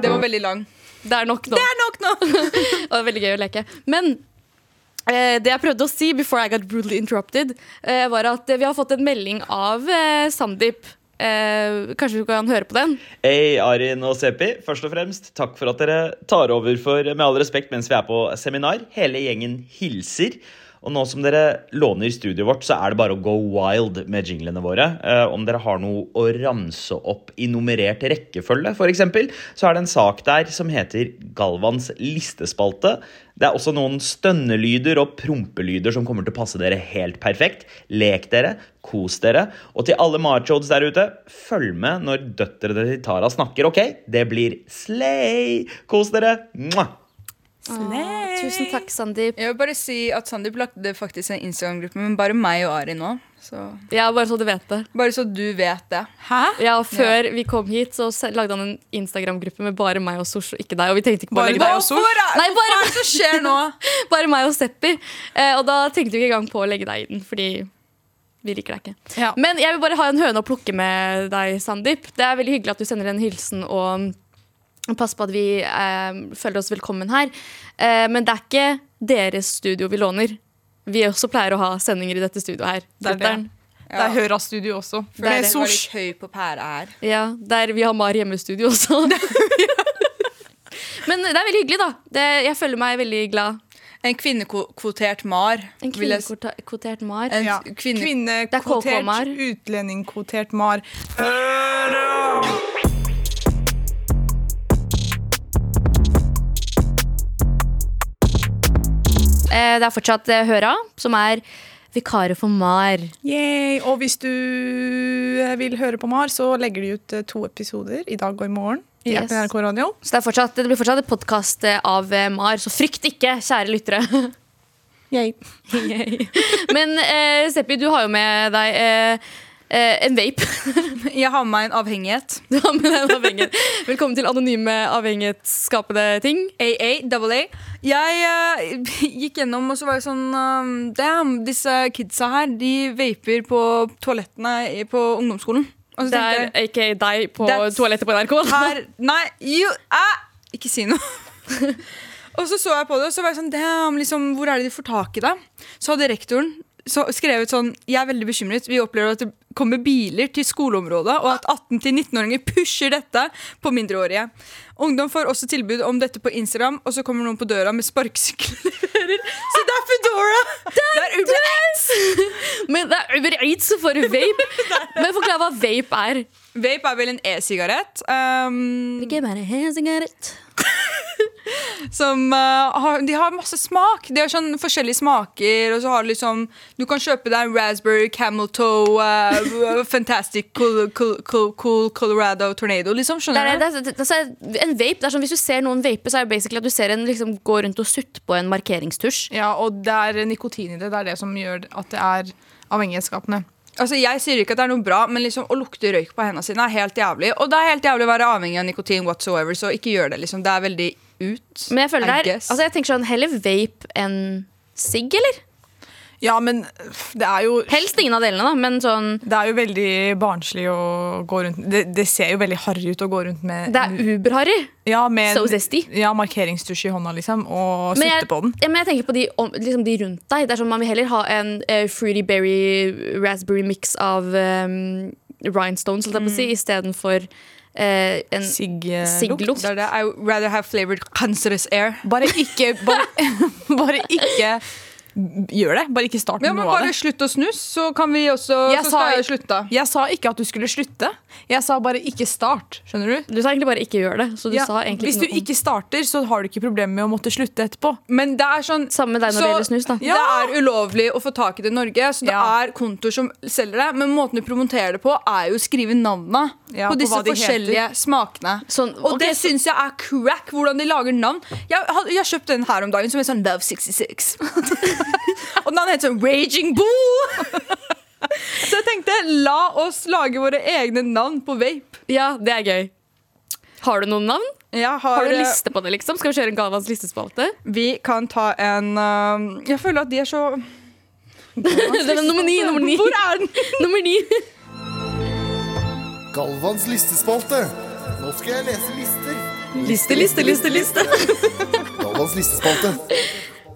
[SPEAKER 3] Det var veldig lang.
[SPEAKER 2] Det er nok nå.
[SPEAKER 3] Det er nok nå!
[SPEAKER 2] Det var veldig gøy å leke. Men eh, det jeg prøvde å si before I got brutally interrupted, eh, var at eh, vi har fått en melding av eh, Sandeep. Eh, kanskje du kan høre på den?
[SPEAKER 4] Hei, Arin og Sepi. Først og fremst, takk for at dere tar over for Med all respekt mens vi er på seminar. Hele gjengen hilser. Og nå som dere låner studioet vårt, så er det bare å go wild med jinglene våre. Eh, om dere har noe å ramse opp i nummerert rekkefølge, f.eks., så er det en sak der som heter Galvans listespalte. Det er også noen stønnelyder og prompelyder som kommer til å passe dere helt perfekt. Lek dere, kos dere. Og til alle machods der ute, følg med når døtrene til Tara snakker, OK? Det blir slay! Kos dere! Mwah!
[SPEAKER 2] Åh, tusen takk, Sandeep.
[SPEAKER 3] Jeg vil bare si at Sandeep lagde faktisk en Instagram-gruppe, men bare meg og Ari nå. Så.
[SPEAKER 2] Ja, bare så du vet det.
[SPEAKER 3] Bare så du vet det.
[SPEAKER 5] Hæ?
[SPEAKER 2] Ja, og Før vi kom hit, så se- lagde han en Instagram-gruppe med bare meg og Sosh og ikke deg. Og vi tenkte ikke på å
[SPEAKER 5] Bare
[SPEAKER 2] legge
[SPEAKER 5] deg
[SPEAKER 2] deg
[SPEAKER 5] og
[SPEAKER 2] ut.
[SPEAKER 5] Sosh?
[SPEAKER 3] er-
[SPEAKER 2] Nei, bare-
[SPEAKER 3] hva er det som skjer nå?
[SPEAKER 2] Bare meg og Seppi. Eh, og da tenkte vi ikke engang på å legge deg i den, fordi vi liker deg ikke.
[SPEAKER 5] Ja.
[SPEAKER 2] Men jeg vil bare ha en høne å plukke med deg, Sandeep. Det er veldig hyggelig at du sender en hilsen og pass på at vi eh, føler oss velkommen her. Eh, men det er ikke deres studio vi låner. Vi også pleier å ha sendinger i dette studioet her.
[SPEAKER 5] Det er det.
[SPEAKER 2] lytteren.
[SPEAKER 5] Det er Høra Studio også.
[SPEAKER 2] er
[SPEAKER 5] Med
[SPEAKER 2] det.
[SPEAKER 3] Jeg var
[SPEAKER 5] Sosh.
[SPEAKER 3] litt høy på pæra her.
[SPEAKER 2] Ja, der vi har Mar hjemmestudio også. men det er veldig hyggelig, da. Det, jeg føler meg veldig glad.
[SPEAKER 3] En kvinnekvotert mar.
[SPEAKER 2] En
[SPEAKER 3] vil jeg s-
[SPEAKER 2] kvinnekvotert Mar.
[SPEAKER 3] en
[SPEAKER 5] Ja.
[SPEAKER 3] kvinne-
[SPEAKER 2] Det er KK Mar.
[SPEAKER 5] Kvinnekvotert, utlendingkvotert mar.
[SPEAKER 2] Eh, Det er fortsatt eh, Høra, som er vikaret for Mar.
[SPEAKER 5] Yay. Og hvis du eh, vil høre på Mar, så legger de ut eh, to episoder i dag og i morgen. I
[SPEAKER 2] Yes.
[SPEAKER 5] appen NRK Radio.
[SPEAKER 2] Så det, er fortsatt, det blir fortsatt et podkast av eh, Mar, så frykt ikke, kjære lyttere.
[SPEAKER 5] Yay.
[SPEAKER 2] Men eh, Seppi, du har jo med deg eh, eh, en vape.
[SPEAKER 3] Jeg har med meg en avhengighet.
[SPEAKER 2] Du har med deg en avhengighet. Velkommen til anonyme avhengighetsskapende ting.
[SPEAKER 3] AA, double A. Jeg eh, gikk gjennom, og så var jeg sånn um, Damn, disse kidsa her, de vaper på toalettene i- på ungdomsskolen. Og så
[SPEAKER 2] Det er
[SPEAKER 3] tenkte jeg
[SPEAKER 2] aka deg på
[SPEAKER 3] That's-
[SPEAKER 2] toalettet på NRK.
[SPEAKER 3] her, Nei, you, ah, ikke si noe. og så så jeg på det, og så var jeg sånn Damn, liksom, hvor er det de får tak i det? Så hadde rektoren så skrevet sånn Jeg er veldig bekymret. Vi opplever at det kommer biler til skoleområdet, og at 18-19-åringer pusher dette på mindreårige. Ungdom får også tilbud om dette på Instagram, og så kommer noen på døra med sparkesykler. så det er Foodora! Det er Uber Eats!
[SPEAKER 2] Men det er over eight så får du vape. Men forklar hva vape er.
[SPEAKER 3] Vape er vel en e-sigarett um,
[SPEAKER 2] Ikke bare hesing er rett.
[SPEAKER 3] som eh, har, De har masse smak. De har sånn forskjellige smaker. Og så har de liksom Du kan kjøpe deg en raspberry, camel toe, eh, fantastic cool, cool, cool, cool Colorado tornado. Liksom,
[SPEAKER 2] det
[SPEAKER 3] skjønner
[SPEAKER 2] er,
[SPEAKER 3] du?
[SPEAKER 2] det er, det er, det er en vape, det er sånn Hvis du ser noen vape, så er det basically at du ser en liksom, gå rundt og sutte på en markeringstusj.
[SPEAKER 5] Ja, og det er nikotin i det. Det er det som gjør at det er avhengighetsskapende.
[SPEAKER 3] Altså, Jeg sier ikke at det er noe bra, men liksom å lukte røyk på hendene sine er helt jævlig. Og det er helt jævlig å være avhengig av nikotin whatsoever, så ikke gjør det. liksom Det er veldig ut.
[SPEAKER 2] Men jeg føler
[SPEAKER 3] I
[SPEAKER 2] det er
[SPEAKER 3] guess.
[SPEAKER 2] altså, jeg tenker sånn, Heller vape enn sigg, eller?
[SPEAKER 5] Ja, men det er jo
[SPEAKER 2] Helst ingen av delene, da, men sånn
[SPEAKER 5] Det er jo veldig barnslig å gå rundt Det, det ser jo veldig harry ut å gå rundt med,
[SPEAKER 2] Det er uberharry.
[SPEAKER 5] ja, med
[SPEAKER 2] so zesty.
[SPEAKER 5] Ja, markeringstusj i hånda, liksom, og
[SPEAKER 2] Men
[SPEAKER 5] sitte
[SPEAKER 2] jeg,
[SPEAKER 5] på den.
[SPEAKER 2] ja, men jeg tenker på de, om, liksom de rundt deg. Det er sånn Man vil heller ha en eh, fruity berry raspberry mix av um, rhinestones, holdt jeg på
[SPEAKER 5] Mm.
[SPEAKER 2] å si, istedenfor eh, en
[SPEAKER 5] Sigg-lukt.
[SPEAKER 2] sigglukt.
[SPEAKER 3] Det er det. I would rather have flavored cancerous air.
[SPEAKER 5] Bare ikke bare, bare ikke gjør det. Bare ikke start med
[SPEAKER 3] Ja, men
[SPEAKER 5] noe av
[SPEAKER 3] bare
[SPEAKER 5] det.
[SPEAKER 3] slutt å snus, så kan vi også
[SPEAKER 5] Jeg
[SPEAKER 3] Så
[SPEAKER 5] sa-
[SPEAKER 3] skal jeg slutte.
[SPEAKER 5] Jeg sa ikke at du skulle slutte. Jeg sa bare ikke start. Skjønner du?
[SPEAKER 2] Du sa egentlig bare 'ikke gjør det'. Så du
[SPEAKER 5] Ja,
[SPEAKER 2] sa egentlig
[SPEAKER 5] Hvis du
[SPEAKER 2] noe om-
[SPEAKER 5] ikke starter, så har du ikke problemer med å måtte slutte etterpå.
[SPEAKER 3] Men det er sånn
[SPEAKER 2] Samme med deg når det
[SPEAKER 3] så-
[SPEAKER 2] gjelder snus, da.
[SPEAKER 3] Det er ulovlig å få tak i det i Norge, så det
[SPEAKER 5] Ja.
[SPEAKER 3] er kontoer som selger det. Men måten du promoterer det på, er jo å skrive navnene
[SPEAKER 5] Ja,
[SPEAKER 3] på
[SPEAKER 5] på
[SPEAKER 3] disse
[SPEAKER 5] hva de
[SPEAKER 3] forskjellige smakene.
[SPEAKER 2] Sånn,
[SPEAKER 3] og
[SPEAKER 2] ok,
[SPEAKER 3] det
[SPEAKER 2] så-
[SPEAKER 3] syns jeg er crack, hvordan de lager navn. Jeg, had- jeg kjøpte en her om dagen som het sånn Love 66. og den het sånn Raging Bull. så jeg tenkte, la oss lage våre egne navn på vape.
[SPEAKER 2] Ja, det er gøy. Har du noen navn?
[SPEAKER 3] Jeg eh,
[SPEAKER 2] Har du en liste på det, liksom? Skal vi kjøre en Galvans listespalte?
[SPEAKER 3] Vi kan ta en øhm, Jeg føler at de er så
[SPEAKER 2] Den er nummer ni, nummer ni.
[SPEAKER 3] Hvor er den?
[SPEAKER 2] Nummer ni.
[SPEAKER 7] Galvans listespalte. Nå skal jeg lese lister.
[SPEAKER 2] Liste, liste, liste, liste.
[SPEAKER 7] Galvans listespalte.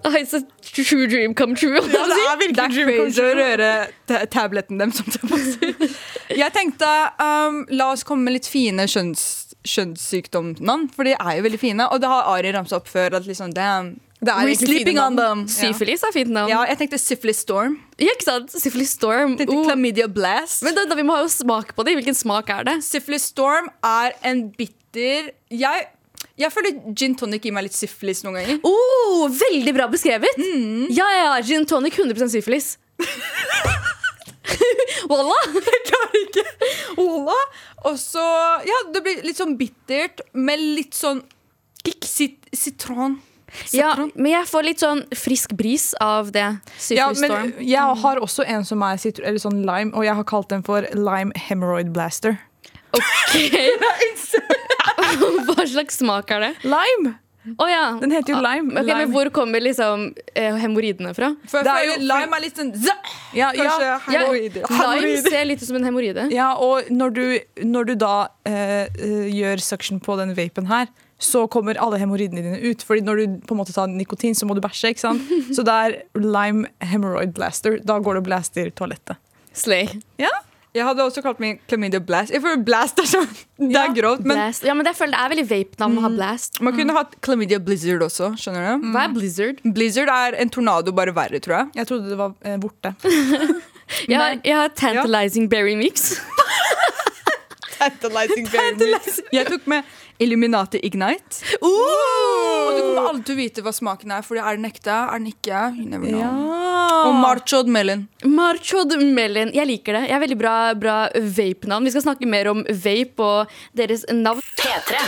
[SPEAKER 2] Ah, It's a true dream come true. holdt jeg på å si.
[SPEAKER 3] Det er crazy å røre ta- tabletten dem som det passer. Jeg tenkte um, la oss komme med litt fine kjønns, kjønnssykdomsnavn, for de er jo veldig fine. Og det har Ari ramsa opp før. At liksom, damn, det er
[SPEAKER 5] We're
[SPEAKER 3] egentlig
[SPEAKER 5] sleeping
[SPEAKER 3] fine
[SPEAKER 5] on
[SPEAKER 3] navn. Ja.
[SPEAKER 2] Syfilis er fint navn.
[SPEAKER 3] Ja, jeg tenkte syphilis storm. Uh.
[SPEAKER 2] Ja, ikke sant? Syfilis Storm.
[SPEAKER 3] Tenkte
[SPEAKER 2] Oh.
[SPEAKER 3] chlamydia blast.
[SPEAKER 2] Men da, da, vi må ha jo smak på det. Hvilken smak er det?
[SPEAKER 3] syphilis storm er en bitter Jeg, jeg føler gin tonic gir meg litt syphilis noen ganger.
[SPEAKER 2] Oh, veldig bra beskrevet! Ja, ja, ja, gin tonic 100 syfilis. Walla! Jeg klarer ikke.
[SPEAKER 3] Cola. Og så Ja, det blir litt sånn bittert med litt sånn sit sitron.
[SPEAKER 2] Ja,
[SPEAKER 3] Sitron.
[SPEAKER 2] men jeg får litt sånn frisk bris av det.
[SPEAKER 5] Ja,
[SPEAKER 2] Syfilis
[SPEAKER 5] men
[SPEAKER 2] Storm.
[SPEAKER 5] jeg har også en som er sitro, eller sånn lime, og jeg har kalt den for lime hemorrhoid blaster.
[SPEAKER 2] Hva slags smak er det?
[SPEAKER 5] Lime!
[SPEAKER 2] Å ja.
[SPEAKER 5] Den heter jo
[SPEAKER 2] Ah,
[SPEAKER 5] lime.
[SPEAKER 2] ok,
[SPEAKER 5] Lime.
[SPEAKER 2] Men hvor kommer liksom eh, hemoroidene fra?
[SPEAKER 3] For jeg
[SPEAKER 5] Det er
[SPEAKER 3] føler
[SPEAKER 5] jo-
[SPEAKER 3] lime er litt sånn zø,
[SPEAKER 5] Ja,
[SPEAKER 3] Kanskje
[SPEAKER 5] ja,
[SPEAKER 2] Ja,
[SPEAKER 3] hemoroider.
[SPEAKER 2] lime ser litt ut som en hemoroide.
[SPEAKER 5] ja, og når du, når du da eh, eh, gjør suction på den vapen her, så kommer alle hemoroidene dine ut. Fordi når du på en måte tar nikotin, så må du bæsje. ikke sant? Så det er lime hemorrhoid blaster. Da går du og blaster toalettet.
[SPEAKER 2] Slay.
[SPEAKER 5] Ja,
[SPEAKER 3] Jeg hadde også kalt meg chlamydia blast. Jeg føler blast er sånn Det er grovt, men
[SPEAKER 2] Blast. Ja, men jeg føler det er veldig vape-navn å ha blast.
[SPEAKER 3] man kunne hatt chlamydia blizzard også. Skjønner du?
[SPEAKER 2] Hva er blizzard?
[SPEAKER 3] Blizzard er en tornado, bare verre, tror jeg.
[SPEAKER 5] Mm. Jeg trodde det var eh, borte.
[SPEAKER 2] Jeg har, jeg har tantalizing berry mix.
[SPEAKER 3] Jeg tok med Illuminati Ignite. Og du kommer aldri til å vite hva smaken er, for er den ekte? Er den ikke? You never know. Og marchod melon.
[SPEAKER 2] Marchod Melon. Jeg liker det. Jeg er Veldig bra, bra vape-navn. Vi skal snakke mer om vape og deres navn.
[SPEAKER 8] P3.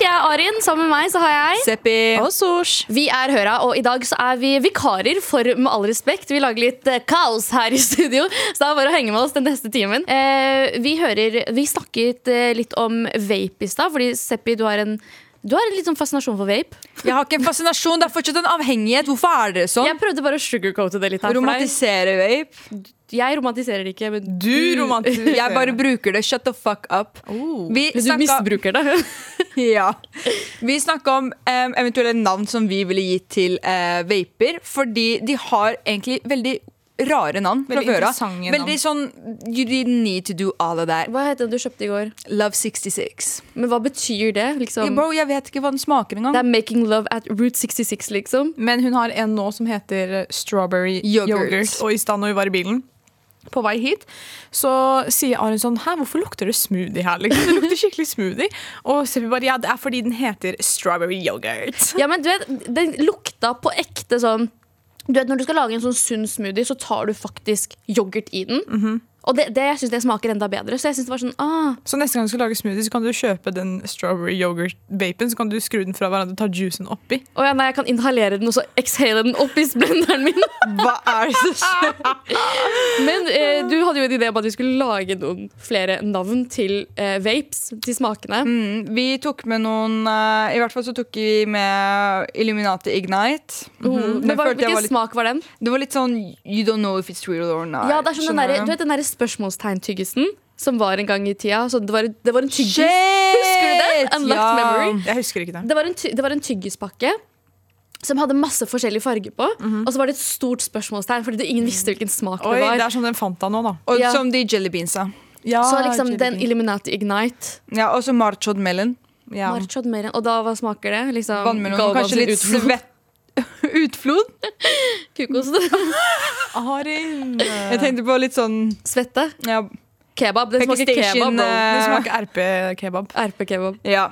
[SPEAKER 2] Jeg er Arin. Sammen med meg så har jeg
[SPEAKER 3] Seppi.
[SPEAKER 2] Vi er Høra, og i dag så er vi vikarer for Med all respekt. Vi lager litt eh, kaos her i studio, så det er bare å henge med oss den neste timen. Eh, vi hører Vi snakket eh, litt om vape i stad, fordi Seppi, du har en du har en litt sånn fascinasjon for vape.
[SPEAKER 3] Jeg har ikke en fascinasjon, det er fortsatt en avhengighet. Hvorfor er dere sånn?
[SPEAKER 2] Jeg prøvde bare å sugarcoate det litt her for deg.
[SPEAKER 3] Romantisere vape.
[SPEAKER 2] Jeg romantiserer det ikke, men du,
[SPEAKER 5] Du romantiserer.
[SPEAKER 3] Jeg bare bruker det. Shut the fuck up. Vi
[SPEAKER 2] men du
[SPEAKER 3] snakka-
[SPEAKER 2] misbruker det.
[SPEAKER 3] Ja. Vi snakka om em, eventuelle navn som vi ville gitt til eh, vaper, fordi de har egentlig veldig rare navn fra
[SPEAKER 5] Veldig
[SPEAKER 3] før av.
[SPEAKER 5] interessante navn.
[SPEAKER 3] Veldig sånn You didn't need to do all of that.
[SPEAKER 2] Hva het den du kjøpte i går?
[SPEAKER 3] Love 66.
[SPEAKER 2] Men hva betyr det? Liksom?
[SPEAKER 3] Bro, jeg vet ikke hva den
[SPEAKER 2] Det
[SPEAKER 3] smaker engang.
[SPEAKER 2] er making love at Route 66, liksom.
[SPEAKER 5] Men hun har en nå som heter strawberry
[SPEAKER 3] Yoghurt.
[SPEAKER 5] yoghurt. Og i stad når vi var i bilen på vei hit, så sier Aron sånn Hæ, hvorfor lukter det smoothie her? Liksom? Det lukter skikkelig smoothie. Og så sier vi bare ja, det er fordi den heter strawberry yoghurt.
[SPEAKER 2] Ja, men du vet, Den lukta på ekte sånn Du vet, Når du skal lage en sånn sunn smoothie, så tar du faktisk yoghurt i den. Og det, det, jeg synes det smaker enda bedre. Så jeg synes det var sånn ah,
[SPEAKER 5] Så neste gang du skal lage smoothie, så kan du kjøpe den strawberry yoghurt-vapen, så kan du skru den fra hverandre og ta juicen oppi.
[SPEAKER 2] Å ja, nei, jeg kan inhalere den og så exhale den opp i blenderen min.
[SPEAKER 5] Hva er det som skjer?
[SPEAKER 2] Men eh, du hadde jo en idé om at vi skulle lage noen flere navn til eh, vapes, til smakene.
[SPEAKER 3] Mm, Vi tok med noen eh, I hvert fall så tok vi med Illuminati Ignite.
[SPEAKER 2] Mhm.
[SPEAKER 3] Den
[SPEAKER 2] Men hva,
[SPEAKER 3] følte jeg
[SPEAKER 2] hvilken
[SPEAKER 3] var litt-
[SPEAKER 2] smak var den?
[SPEAKER 3] Det var litt sånn You don't know if it's real or not.
[SPEAKER 2] Ja, det er sånn den
[SPEAKER 3] Skjønner
[SPEAKER 2] derre- Du vet den derre spørsmålstegntyggisen som var en gang i tida? Så det, var, det var en tyggis. Husker du den? Unlocked
[SPEAKER 3] ja.
[SPEAKER 2] memory.
[SPEAKER 5] Jeg husker ikke det.
[SPEAKER 2] Det var en, ty det var en tyggispakke. Som hadde masse forskjellig farge på. Og så var det et stort spørsmålstegn, fordi ingen visste hvilken smak
[SPEAKER 5] Mhm. Oi,
[SPEAKER 2] det var.
[SPEAKER 5] det er Ah, sånn den fant av nå, da.
[SPEAKER 3] Og
[SPEAKER 2] Ja.
[SPEAKER 3] som de jellybeansa.
[SPEAKER 5] Ja,
[SPEAKER 2] Så liksom
[SPEAKER 5] jelly
[SPEAKER 2] den
[SPEAKER 5] bean.
[SPEAKER 2] Illuminati Ignite.
[SPEAKER 3] Ja, og så Marchod Melon.
[SPEAKER 5] ja.
[SPEAKER 2] Marchod mer enn- Og da hva smaker det? Liksom,
[SPEAKER 3] Vannmelon.
[SPEAKER 2] Galvan
[SPEAKER 3] og Kanskje
[SPEAKER 2] sin
[SPEAKER 3] litt
[SPEAKER 2] utflod.
[SPEAKER 3] svett. Utflod?
[SPEAKER 2] Kukost.
[SPEAKER 5] Arin.
[SPEAKER 3] Jeg tenkte på litt sånn
[SPEAKER 2] Svette.
[SPEAKER 3] ja,
[SPEAKER 2] Kebab. Den smaker kebab.
[SPEAKER 3] Playstation,
[SPEAKER 2] bro.
[SPEAKER 5] Det
[SPEAKER 3] eh,
[SPEAKER 5] smaker RP-kebab.
[SPEAKER 2] RP-kebab.
[SPEAKER 3] ja.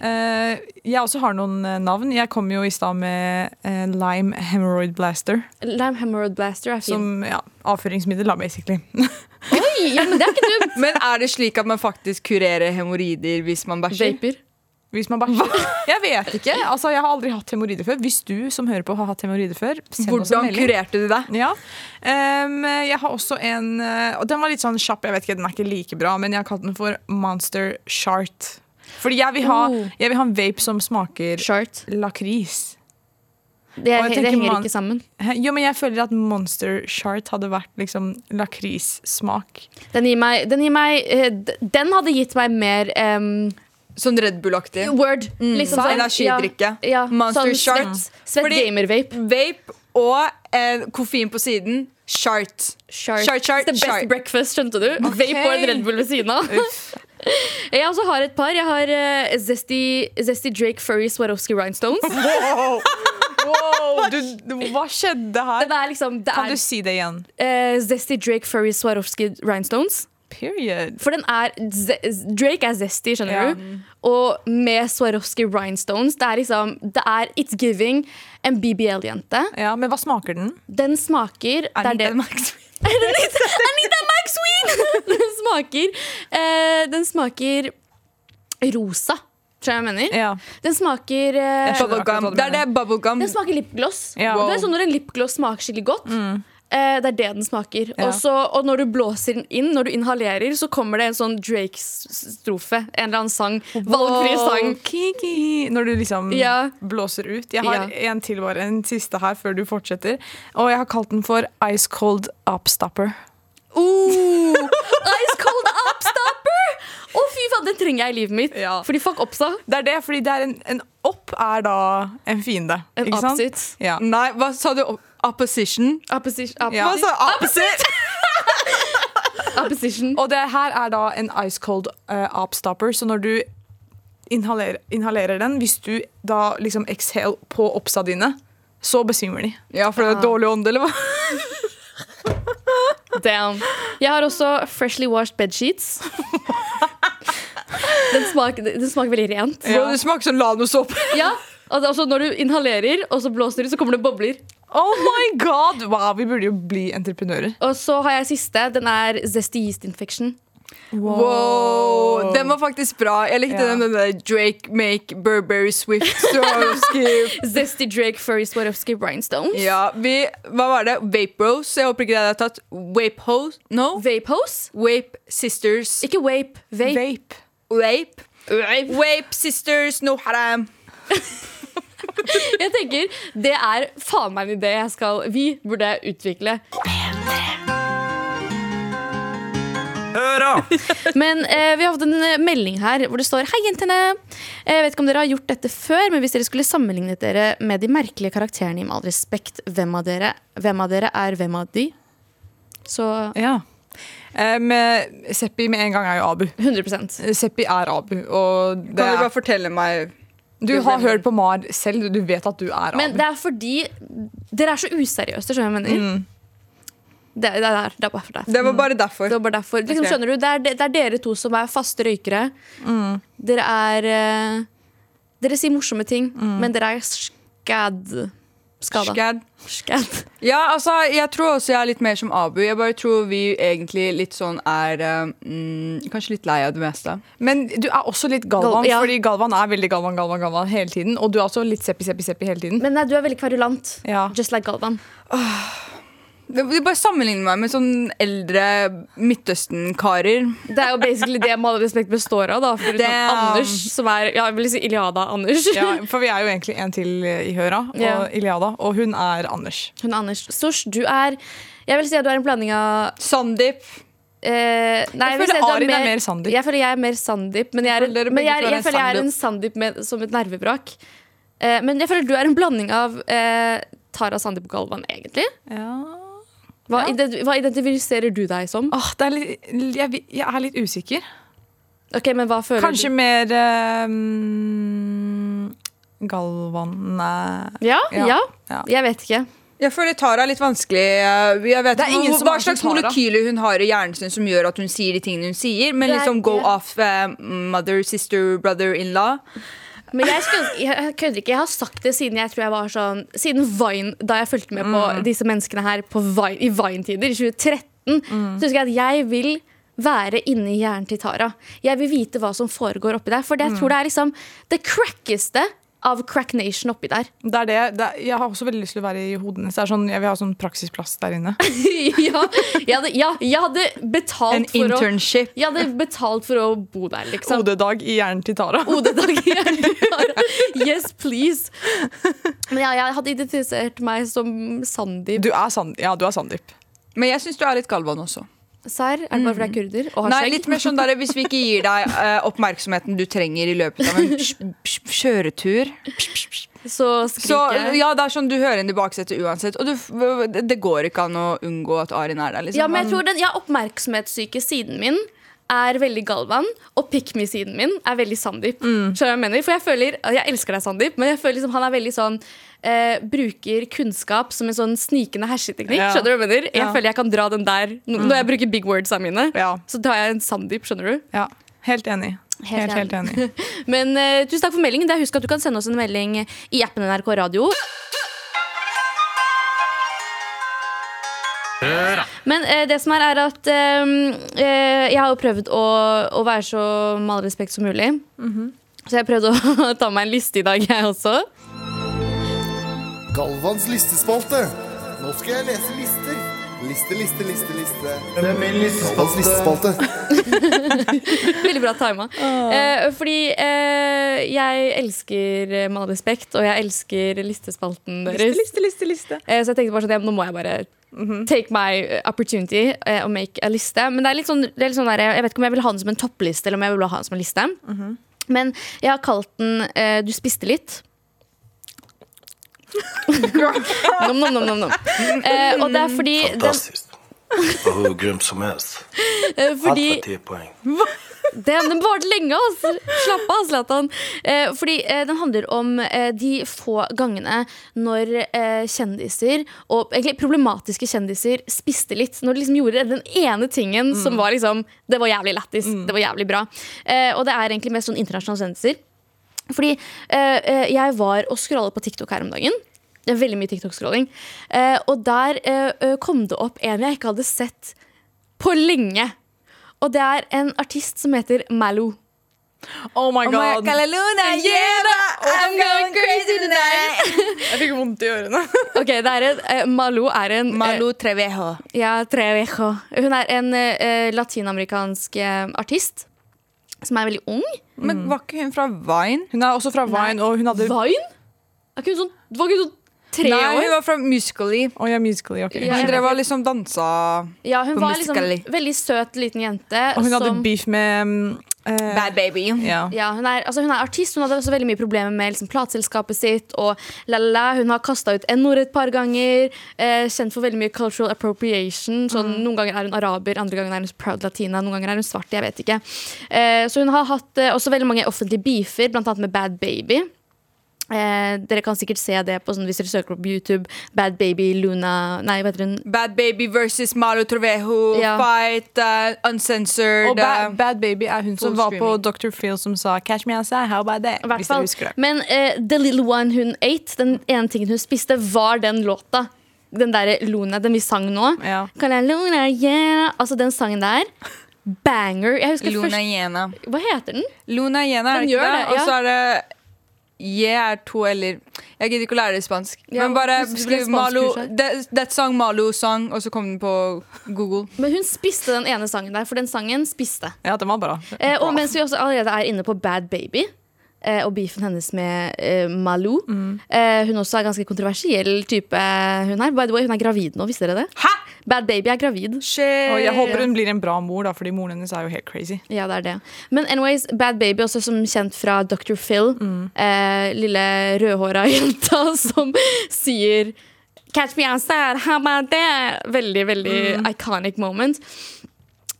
[SPEAKER 5] Eh, jeg også har noen eh, navn. Jeg kom jo i stad med eh, lime hemorrhoid blaster.
[SPEAKER 2] Lime Hemorrhoid Blaster er fin.
[SPEAKER 5] Som ja, avføringsmiddel, da, basically.
[SPEAKER 2] Oi, ja, men det er ikke dumt!
[SPEAKER 3] Men er det slik at man faktisk kurerer hemoroider hvis man bæsjer?
[SPEAKER 2] Vaper.
[SPEAKER 5] Hvis man bæsjer. Jeg vet ikke. Altså, jeg har aldri hatt hemoroider før. Hvis du som hører på har hatt hemoroider før, send oss en
[SPEAKER 3] Hvordan
[SPEAKER 5] melding.
[SPEAKER 3] kurerte du det?
[SPEAKER 5] Ja. Em, jeg har også en eh, Og den var litt sånn kjapp, jeg vet ikke, den er ikke like bra, men jeg har kalt den for Monster Shart. Fordi jeg vil ha,
[SPEAKER 2] Oh.
[SPEAKER 5] jeg vil ha en vape som smaker
[SPEAKER 2] Shart.
[SPEAKER 5] lakris.
[SPEAKER 2] Det, det
[SPEAKER 5] Og jeg tenker
[SPEAKER 2] henger
[SPEAKER 5] man-
[SPEAKER 2] ikke sammen.
[SPEAKER 5] Hæ? Jo, men jeg føler at Monster Shart hadde vært liksom lakrissmak.
[SPEAKER 2] Den gir meg, den, gir meg eh, d- den hadde gitt meg mer em,
[SPEAKER 3] Sånn Red Bull-aktig.
[SPEAKER 2] word. Liksom,
[SPEAKER 3] sånn
[SPEAKER 2] sånn.
[SPEAKER 3] energidrikke.
[SPEAKER 2] Ja, ja.
[SPEAKER 3] Monster
[SPEAKER 2] sånn
[SPEAKER 3] Shart.
[SPEAKER 2] Svett, svett
[SPEAKER 3] Fordi-
[SPEAKER 2] gamer-vape.
[SPEAKER 3] Vape og eh, koffein på siden. Shart.
[SPEAKER 2] Shart.
[SPEAKER 3] Shart, shart,
[SPEAKER 2] It's the best
[SPEAKER 3] shart.
[SPEAKER 2] breakfast, skjønte du? Vape og en Red Bull ved siden av. Jeg også har et par. Jeg har eh, Zesty, Zesty Drake Furry Swarovski Rhinestones.
[SPEAKER 5] Wow, du, hva skjedde her?
[SPEAKER 2] Det er liksom, det
[SPEAKER 5] Kan
[SPEAKER 2] er
[SPEAKER 5] du si det igjen?
[SPEAKER 2] eh, Zesty Drake Furry Swarovski Rhinestones.
[SPEAKER 5] Period.
[SPEAKER 2] For den er ze- z- Drake er zesty, skjønner
[SPEAKER 5] Ja.
[SPEAKER 2] du? Og med Swarovski rhinestones. Det er liksom Det er It's Giving en BBL-jente.
[SPEAKER 5] Ja, men hva smaker den?
[SPEAKER 2] Den smaker det er det.
[SPEAKER 3] Anita Max-
[SPEAKER 2] Anita, Anita McSween! den smaker eh, Den smaker rosa, tror jeg jeg mener.
[SPEAKER 5] Ja.
[SPEAKER 2] Den smaker eh,
[SPEAKER 5] skjønner akkurat hva
[SPEAKER 3] Bubblegum.
[SPEAKER 5] du
[SPEAKER 3] Det er det bubblegum.
[SPEAKER 2] Den smaker lipgloss.
[SPEAKER 5] Ja. Mm.
[SPEAKER 2] Du vet sånn Når en lipgloss smaker skikkelig godt, eh, det er det den smaker.
[SPEAKER 5] Ja.
[SPEAKER 2] Og så- og når du blåser den inn, når du inhalerer, så kommer det en sånn Drake-strofe. En eller annen sang. Valgfri sang.
[SPEAKER 5] Kiki. Når du liksom
[SPEAKER 2] Ja.
[SPEAKER 5] blåser ut. Jeg har
[SPEAKER 2] Ja.
[SPEAKER 5] en til bare, en siste her før du fortsetter. Og jeg har kalt den for Ice Cold Upstopper.
[SPEAKER 2] Oh, ice cold upstopper! Å, fy faen, den trenger jeg i livet mitt.
[SPEAKER 5] Ja.
[SPEAKER 2] Fordi fuck oppsa.
[SPEAKER 5] Det er det, fordi det er en, en opp er da en fiende.
[SPEAKER 2] En
[SPEAKER 5] ikke sant?
[SPEAKER 2] opposite.
[SPEAKER 5] Ja.
[SPEAKER 3] Nei, hva sa du? Opposition?
[SPEAKER 2] Opposition. Opp
[SPEAKER 5] Ja.
[SPEAKER 3] Hva sa opposite?
[SPEAKER 2] opposition.
[SPEAKER 5] Og det her er da en ice cold eh, upstopper, så når du inhalerer, inhalerer den, hvis du da liksom exhale på oppsa dine, så besvimer de.
[SPEAKER 3] Ja, for det er dårlig ånde, eller hva?
[SPEAKER 2] Oh, Damn. Jeg har også freshly washed bedsheets. Den smaker, den smaker veldig rent.
[SPEAKER 3] Bro, det smaker som lanosåpe.
[SPEAKER 2] Ja, altså, altså Når du inhalerer, og så blåser du, så kommer det bobler.
[SPEAKER 5] Oh my god! Wow, vi burde jo bli entreprenører.
[SPEAKER 2] Og så har jeg siste. Den er zesty yeast infection.
[SPEAKER 3] Wow. Den var faktisk bra. Jeg likte
[SPEAKER 5] Ja.
[SPEAKER 3] den, den der Drake make Burberry Swift Swarovski.
[SPEAKER 2] Zesty Drake Furry Swarovski Rhinestones.
[SPEAKER 3] Ja, vi Hva var det? Vape Bros? Jeg håper ikke det er tatt. Vape Hose? No.
[SPEAKER 2] Vape hose.
[SPEAKER 3] Vape Sisters.
[SPEAKER 2] Ikke vape. Vape.
[SPEAKER 5] Vape.
[SPEAKER 3] Vape. Vape Sisters, no haram.
[SPEAKER 2] Jeg tenker, Det er faen meg en idé jeg skal Vi burde utvikle.
[SPEAKER 1] Høra!
[SPEAKER 2] Men eh, vi har fått en eh, melding her hvor det står Hei jentene, jeg vet ikke om dere har gjort dette før Men hvis dere skulle sammenlignet dere med de merkelige karakterene i Med all respekt, hvem av dere, hvem av dere er hvem av de? Så
[SPEAKER 5] Ja. Eh, men Seppi med en gang er jo Abu.
[SPEAKER 2] 100%
[SPEAKER 5] Seppi er Abu. Og det
[SPEAKER 3] Kan du
[SPEAKER 5] er,
[SPEAKER 3] bare fortelle meg
[SPEAKER 5] du har hørt på Mar selv, du vet at du er
[SPEAKER 2] Men
[SPEAKER 5] Abu.
[SPEAKER 2] det er fordi dere er så useriøse, skjønner du hva jeg mener? Det, det, er, det er bare for deg.
[SPEAKER 3] Mm. Det var bare
[SPEAKER 2] Det
[SPEAKER 3] derfor.
[SPEAKER 2] var bare derfor. Liksom,
[SPEAKER 3] Ok.
[SPEAKER 2] skjønner du, det er, det er dere to som er faste røykere.
[SPEAKER 3] Mm.
[SPEAKER 2] Dere er eh, Dere sier morsomme ting, men dere er skad... Skada.
[SPEAKER 3] Mm. Skad.
[SPEAKER 2] Skad.
[SPEAKER 3] Ja, altså, jeg tror også jeg er litt mer som Abu. Jeg bare tror vi egentlig litt sånn er eh, mm, Kanskje litt lei av det meste.
[SPEAKER 5] Men du er også litt Galvan,
[SPEAKER 2] Gal- ja.
[SPEAKER 5] fordi Galvan er veldig Galvan, Galvan, Galvan hele tiden. Og du er også litt Seppi, Seppi, Seppi hele tiden.
[SPEAKER 2] Men nei, du er veldig kverulant.
[SPEAKER 5] Ja.
[SPEAKER 2] Just like Galvan.
[SPEAKER 3] Det- Du bare sammenligner meg med sånn eldre Midtøsten-karer.
[SPEAKER 2] Det er jo basically det Med all respekt består av, da. Foruten
[SPEAKER 3] Damn.
[SPEAKER 2] Anders, som er ja, jeg vil si Iliada-Anders.
[SPEAKER 5] Ja, for vi er jo egentlig en til eh, i høra, og
[SPEAKER 2] Ja.
[SPEAKER 5] Iliada, og hun er Anders.
[SPEAKER 2] Hun er Anders. Sosh, du er Jeg vil si at du er en blanding av
[SPEAKER 3] Sandeep.
[SPEAKER 2] eh, nei,
[SPEAKER 5] Jeg
[SPEAKER 2] vil si
[SPEAKER 5] føler
[SPEAKER 2] at du
[SPEAKER 5] Arin er mer Sandeep.
[SPEAKER 2] Jeg føler jeg er mer Sandeep, men jeg, er,
[SPEAKER 3] Jeg føler dere
[SPEAKER 2] men
[SPEAKER 3] begge
[SPEAKER 2] jeg,
[SPEAKER 3] to
[SPEAKER 2] er,
[SPEAKER 3] er
[SPEAKER 2] jeg, føler jeg er en
[SPEAKER 3] Sandeep.
[SPEAKER 2] Sandeep med, som et nervevrak. Eh, men jeg føler du er en blanding av eh, Tara Sandeep og Galvan, egentlig. Hva, ident- hva identifiserer du deg som?
[SPEAKER 5] Åh, det er litt, jeg, vi- jeg er litt usikker.
[SPEAKER 2] Ok, men hva føler
[SPEAKER 5] Kanskje mer eh, mm, Galvan Nei.
[SPEAKER 2] du? Ja,
[SPEAKER 5] Ja.
[SPEAKER 2] ja,
[SPEAKER 5] Ja.
[SPEAKER 2] Jeg vet ikke.
[SPEAKER 3] Jeg føler Tara er litt vanskelig. eh, Jeg vet
[SPEAKER 5] Det er
[SPEAKER 3] ikke
[SPEAKER 5] ingen
[SPEAKER 3] hvor-
[SPEAKER 5] som
[SPEAKER 3] hva
[SPEAKER 5] er som
[SPEAKER 3] slags
[SPEAKER 5] Tara.
[SPEAKER 3] molekyler hun har i hjernen sin som gjør at hun sier de tingene hun sier. Men
[SPEAKER 2] Det er-
[SPEAKER 3] liksom go
[SPEAKER 2] ja.
[SPEAKER 3] off eh, mother, sister, brother-in-law.
[SPEAKER 2] Men jeg, skulle, jeg kødder ikke. Jeg har sagt det siden jeg tror jeg var sånn Siden Vine, da jeg fulgte med på
[SPEAKER 3] Mm.
[SPEAKER 2] disse menneskene her på Vine, i Vine-tider, i 2013,
[SPEAKER 3] Mm.
[SPEAKER 2] så husker jeg at jeg vil være inni hjernen til Tara. Jeg vil vite hva som foregår oppi der. For jeg
[SPEAKER 3] Mm.
[SPEAKER 2] tror det er liksom det crackeste av Crack Nation oppi der.
[SPEAKER 5] Det er det, det er, jeg har også veldig lyst til å være i hodet hennes. Det er Sånn, jeg vil ha sånn praksisplass der inne.
[SPEAKER 2] ja, jeg hadde, ja, jeg hadde betalt
[SPEAKER 3] En
[SPEAKER 2] for å
[SPEAKER 3] internship.
[SPEAKER 2] Jeg hadde betalt for å bo der, liksom.
[SPEAKER 5] Hodedag i hjernen til Tara.
[SPEAKER 2] Hodedag i hjernen til Tara. Yes, please. Men ja, jeg hadde identifisert meg som Sandeep.
[SPEAKER 5] Du er, Sand, ja, du er Sandeep.
[SPEAKER 3] Men jeg syns du er litt Galvan også.
[SPEAKER 2] Serr? Er det bare fordi jeg er kurder og har
[SPEAKER 3] Nei,
[SPEAKER 2] skjegg?
[SPEAKER 3] litt mer sånn der, Hvis vi ikke gir deg eh, oppmerksomheten du trenger i løpet av en kj- kj- kjøretur
[SPEAKER 2] Så
[SPEAKER 3] Så
[SPEAKER 2] skriker jeg. Ja.
[SPEAKER 3] ja, det er sånn du hører inn i baksetet uansett. Og du, f- det går ikke an å unngå at Arin er der. Liksom.
[SPEAKER 2] men jeg tror den ja, oppmerksomhetssyke siden min er veldig Galvan, og pick me-siden min er veldig Sandeep. Skjønner du hva Jeg mener? For jeg føler, jeg elsker deg, Sandeep, men jeg føler liksom han er veldig sånn eh, Bruker kunnskap som en sånn snikende herseteknikk.
[SPEAKER 5] Ja.
[SPEAKER 2] Skjønner du hva jeg mener? Jeg
[SPEAKER 5] Ja.
[SPEAKER 2] føler jeg kan dra den der. N- Når jeg bruker big wordsa mine,
[SPEAKER 5] Ja.
[SPEAKER 2] så tar jeg en Sandeep, skjønner du?
[SPEAKER 5] Ja, helt enig. Helt,
[SPEAKER 2] Helt
[SPEAKER 5] helt enig.
[SPEAKER 2] Men eh, tusen takk for meldingen. Det er- Husk at du kan sende oss en melding i appen NRK Radio. Men eh, det som er, er at eh, eh, jeg har jo prøvd å, å være så med all respekt som mulig. Så jeg prøvde å ta meg en liste i dag, jeg også.
[SPEAKER 7] Galvans listespalte. Nå skal jeg lese lister. Liste, liste, liste, liste. Galvans listespalte.
[SPEAKER 2] Veldig bra tima. Eh, fordi eh, jeg elsker eh, Med all respekt, og jeg elsker listespalten deres.
[SPEAKER 5] Liste, liste, liste.
[SPEAKER 2] Eh, Så jeg tenkte bare sånn, ja, nå må jeg bare take my eh, opportunity eh, og make a liste. Men det er litt sånn, det er litt sånn der, jeg vet ikke om jeg vil ha den som en toppliste, eller om jeg vil ha den som en liste. Men jeg har kalt den eh, Du spiste litt. nom, nom, nom, nom, nom. Eh, og det er fordi, den,
[SPEAKER 8] Fantastisk. Og hvor grymt som helst.
[SPEAKER 2] eh,
[SPEAKER 8] Alt
[SPEAKER 2] fordi
[SPEAKER 8] var ti poeng.
[SPEAKER 2] Den, den varte lenge, altså. Slapp av, Zlatan. Eh, fordi eh, den handler om eh, de få gangene når eh, kjendiser, og egentlig problematiske kjendiser, spiste litt. Når de liksom gjorde den ene tingen som var liksom Det var jævlig lættis. Det var jævlig bra. Eh, og det er egentlig mest sånn internasjonale kjendiser. Fordi eh, eh, jeg var og scrollet på TikTok her om dagen. Det er veldig mye TikTok-scrolling. Eh, og der eh, eh, kom det opp en jeg ikke hadde sett på lenge. Og det er en artist som heter Malou.
[SPEAKER 5] Oh my
[SPEAKER 3] Oh my
[SPEAKER 5] god.
[SPEAKER 3] Calaluna, yeah, I'm going crazy tonight.
[SPEAKER 5] Jeg fikk vondt i ørene.
[SPEAKER 2] Ok, det er en, eh, Malou er en eh,
[SPEAKER 3] Malou Trevejo.
[SPEAKER 2] Ja, Trevejo. Hun er en eh, latinamerikansk eh, artist som er veldig ung.
[SPEAKER 3] Men var ikke hun fra Vine?
[SPEAKER 5] Hun er også fra Vine, og hun hadde
[SPEAKER 2] Vine? Er ikke hun sånn, var ikke hun sånn tre
[SPEAKER 3] Nei, hun
[SPEAKER 2] år?
[SPEAKER 3] var fra Musically.
[SPEAKER 5] Å, jeg er musically, ok.
[SPEAKER 2] Ja.
[SPEAKER 3] Hun drev og liksom dansa
[SPEAKER 2] Ja, hun
[SPEAKER 3] på
[SPEAKER 2] var liksom
[SPEAKER 3] Musically.
[SPEAKER 2] veldig søt liten jente.
[SPEAKER 5] Og hun hadde
[SPEAKER 2] som-
[SPEAKER 5] beef med mm, eh,
[SPEAKER 3] Bad Baby.
[SPEAKER 5] ja.
[SPEAKER 2] Ja, hun er, altså hun er artist, hun hadde også veldig mye problemer med liksom, plateselskapet sitt. Og la, la, la. Hun har kasta ut N-ord et par ganger. Eh, kjent for veldig mye cultural appropriation. Sånn, Noen ganger er hun araber, andre ganger er hun proud latina, noen ganger er hun svart. jeg vet ikke eh, Så hun har hatt eh, også veldig mange offentlige beefer, blant annet med Bad Baby. Eh, dere kan sikkert se det på sånn, hvis dere søker opp på YouTube. Bad Baby Luna Nei, hva heter hun?
[SPEAKER 3] Bad Baby versus Malo Trovejo,
[SPEAKER 2] Ja.
[SPEAKER 3] fight, eh, uncensored
[SPEAKER 5] Og ba
[SPEAKER 3] eh,
[SPEAKER 5] Bad Baby er hun som
[SPEAKER 3] full
[SPEAKER 5] var på
[SPEAKER 3] screaming.
[SPEAKER 5] Dr. Phil som sa 'Catch me outside, how about that?'
[SPEAKER 2] I hvert
[SPEAKER 5] Hvis dere
[SPEAKER 2] fall.
[SPEAKER 5] husker det.
[SPEAKER 2] Men eh, The Little One hun ate, den ene tingen hun spiste, var den låta. Den derre Luna, den vi sang nå.
[SPEAKER 5] Ja.
[SPEAKER 2] Kan jeg Luna, yeah Altså den sangen der. Banger. Jeg husker
[SPEAKER 3] Luna
[SPEAKER 2] først
[SPEAKER 3] Jena.
[SPEAKER 2] Hva heter den?
[SPEAKER 3] Luna Jena, er
[SPEAKER 2] Den
[SPEAKER 3] det ikke
[SPEAKER 2] gjør
[SPEAKER 3] det?
[SPEAKER 2] det,
[SPEAKER 3] Og
[SPEAKER 2] ja.
[SPEAKER 3] så er det Je er to eller Jeg gidder ikke å lære det spansk.
[SPEAKER 2] Ja,
[SPEAKER 3] Men bare
[SPEAKER 2] du skulle
[SPEAKER 3] skriv
[SPEAKER 2] ha
[SPEAKER 3] Malo
[SPEAKER 2] spanskkurset.
[SPEAKER 3] that, that song Malo song, og så kom den på Google.
[SPEAKER 2] Men hun spiste den ene sangen der, for den sangen spiste.
[SPEAKER 5] Ja, den var bra.
[SPEAKER 2] Eh, og mens vi også allerede er inne på Bad Baby eh, og beefen hennes med eh, Malou
[SPEAKER 5] Mm.
[SPEAKER 2] eh, Hun også er ganske kontroversiell type. Hun er, by the way, hun er gravid nå, visste dere det?
[SPEAKER 3] Hæ?!
[SPEAKER 2] Bad Baby er gravid.
[SPEAKER 5] Og jeg håper hun blir en bra mor, da, fordi moren hennes er jo helt crazy.
[SPEAKER 2] Ja, det er det. Men anyways, Bad Baby, også som kjent fra Dr. Phil.
[SPEAKER 3] Mm.
[SPEAKER 2] Eh, lille rødhåra jenta som sier Catch me outside, how about that? Veldig, veldig
[SPEAKER 3] Mm.
[SPEAKER 2] iconic moment.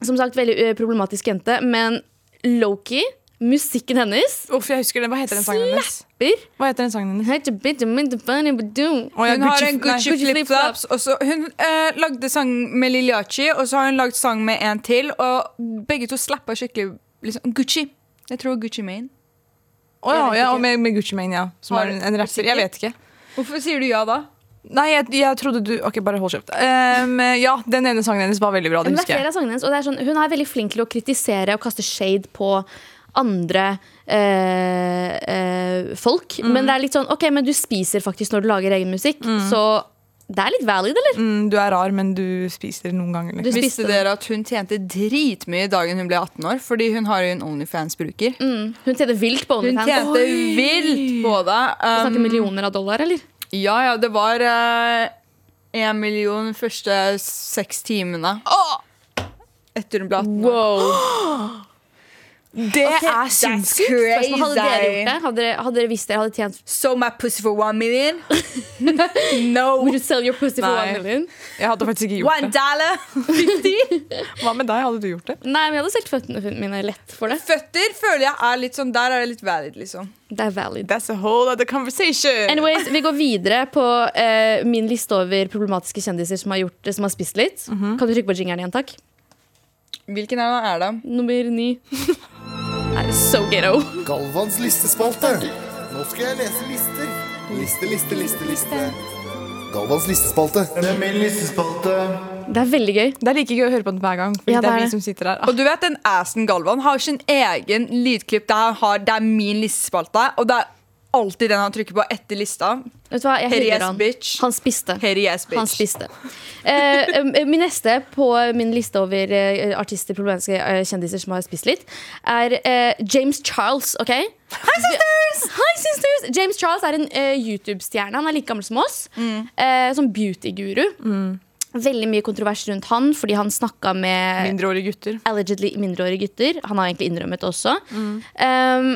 [SPEAKER 2] Som sagt, veldig eh, problematisk jente, men Loki, musikken hennes
[SPEAKER 5] Uff, jeg husker den. Hva heter den sangen hennes?
[SPEAKER 2] Slapper!
[SPEAKER 5] Hva heter den sangen hennes? Å, ja,
[SPEAKER 3] Hun har
[SPEAKER 5] Gucci-
[SPEAKER 3] en
[SPEAKER 5] nei,
[SPEAKER 3] Gucci flipflops. og så- Hun eh, lagde sang med Liliachi, og så har hun lagd sang med en til, og begge to slappa skikkelig liksom, Gucci. Jeg tror Gucci Mane.
[SPEAKER 5] Å ja, ja, og med, med Gucci Mane, ja. Som
[SPEAKER 2] Har-
[SPEAKER 5] er en, en rapper. Jeg vet ikke.
[SPEAKER 3] Hvorfor sier du ja da?
[SPEAKER 5] Nei, jeg, jeg trodde du Ok, bare hold kjeft. Ehm, ja, den ene sangen hennes var veldig bra. Det
[SPEAKER 2] Men det er
[SPEAKER 5] husker
[SPEAKER 2] flere
[SPEAKER 5] jeg.
[SPEAKER 2] av sangene hennes, og det er sånn, hun er veldig flink til å kritisere og kaste shade på andre eh, eh, folk. Men det er litt sånn OK, men du spiser faktisk når du lager egen musikk, så det er litt valid, eller?
[SPEAKER 5] Mm, du er rar, men du spiser noen ganger.
[SPEAKER 2] Du
[SPEAKER 5] Liksom.
[SPEAKER 2] spiste
[SPEAKER 3] Visste
[SPEAKER 2] det.
[SPEAKER 3] dere at hun tjente dritmye dagen hun ble 18 år? Fordi hun har jo en Onlyfans-bruker.
[SPEAKER 2] Hun tjener vilt på
[SPEAKER 3] Hun
[SPEAKER 2] OnlyFans.
[SPEAKER 3] tjente vilt på det.
[SPEAKER 2] Vi
[SPEAKER 3] Um,
[SPEAKER 2] snakker millioner av dollar, eller?
[SPEAKER 3] ja, ja, det var én million de første seks timene. Etter hun ble 18 år.
[SPEAKER 5] Det er sinnssykt!
[SPEAKER 2] Spørsmål, Hadde dere gjort det? Hadde dere, hadde dere visst dere hadde tjent
[SPEAKER 3] So my pussy for one million? no.
[SPEAKER 2] Would you sell your pussy for
[SPEAKER 5] Nei.
[SPEAKER 2] one million?
[SPEAKER 5] Jeg hadde faktisk ikke
[SPEAKER 3] One
[SPEAKER 5] gjort det.
[SPEAKER 3] dollar.
[SPEAKER 5] Hva med deg? Hadde du gjort det?
[SPEAKER 2] Nei, men jeg hadde solgt føttene mine lett for det.
[SPEAKER 3] Føtter føler jeg er litt sånn Der er det litt valid, liksom.
[SPEAKER 2] Det er valid.
[SPEAKER 5] That's a whole other conversation.
[SPEAKER 2] Anyways, Vi går videre på eh, min liste over problematiske kjendiser som har, gjort, som har spist litt. Kan du trykke på jingeren igjen, takk?
[SPEAKER 3] Hvilken er det? Er det?
[SPEAKER 2] Nummer ni. Nei, So ghetto.
[SPEAKER 7] Galvans listespalte. Nå skal jeg lese lister. Liste, liste, liste, liste. Galvans listespalte. Det er min listespalte.
[SPEAKER 2] Det er veldig gøy.
[SPEAKER 5] Det er like gøy å høre på den hver gang. Fordi
[SPEAKER 2] Ja,
[SPEAKER 5] det
[SPEAKER 2] det er
[SPEAKER 5] er vi
[SPEAKER 2] det.
[SPEAKER 5] som sitter der.
[SPEAKER 3] Og du vet, den assen Galvan har sin egen lydklipp. Det, her har, det er min listespalte, og det er alltid den han trykker på etter lista.
[SPEAKER 2] Vet du hva, jeg
[SPEAKER 3] Hairy
[SPEAKER 2] hyller
[SPEAKER 3] ass
[SPEAKER 2] han.
[SPEAKER 3] bitch.
[SPEAKER 2] Han spiste.
[SPEAKER 3] Hairy ass bitch.
[SPEAKER 2] Han spiste. Eh, eh, min neste på min liste over eh, artister, problematiske eh, kjendiser som har spist litt, er eh, James Charles, OK? Hei, sisters! Hei, sisters! James Charles er en eh, YouTube-stjerne. Han er like gammel som oss. eh, som beauty-guru. Veldig mye kontrovers rundt han fordi han snakka med
[SPEAKER 5] Mindreårige gutter.
[SPEAKER 2] allegedly mindreårige gutter. Han har egentlig innrømmet det også.
[SPEAKER 3] Mm.
[SPEAKER 2] Um,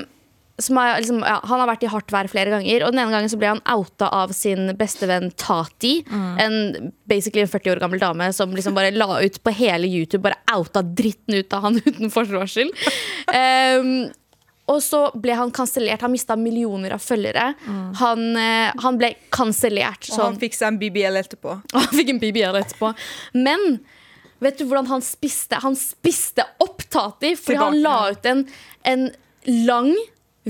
[SPEAKER 2] som er, liksom, ja, han har vært i hardt vær flere ganger, og den ene gangen så ble han outa av sin bestevenn Tati.
[SPEAKER 3] Mm.
[SPEAKER 2] En basically en 40 år gammel dame som liksom bare la ut på hele YouTube Bare outa dritten ut av han uten forvarsel. Um, og så ble han kansellert. Han mista millioner av følgere. Han, eh, han ble kansellert.
[SPEAKER 3] Mm.
[SPEAKER 2] sånn.
[SPEAKER 3] Og han fikk seg en BBL etterpå.
[SPEAKER 2] Og han fikk en BBL etterpå. Men vet du hvordan han spiste? Han spiste opp Tati, fordi han
[SPEAKER 5] Tilbake,
[SPEAKER 2] la
[SPEAKER 5] ja.
[SPEAKER 2] ut en, en lang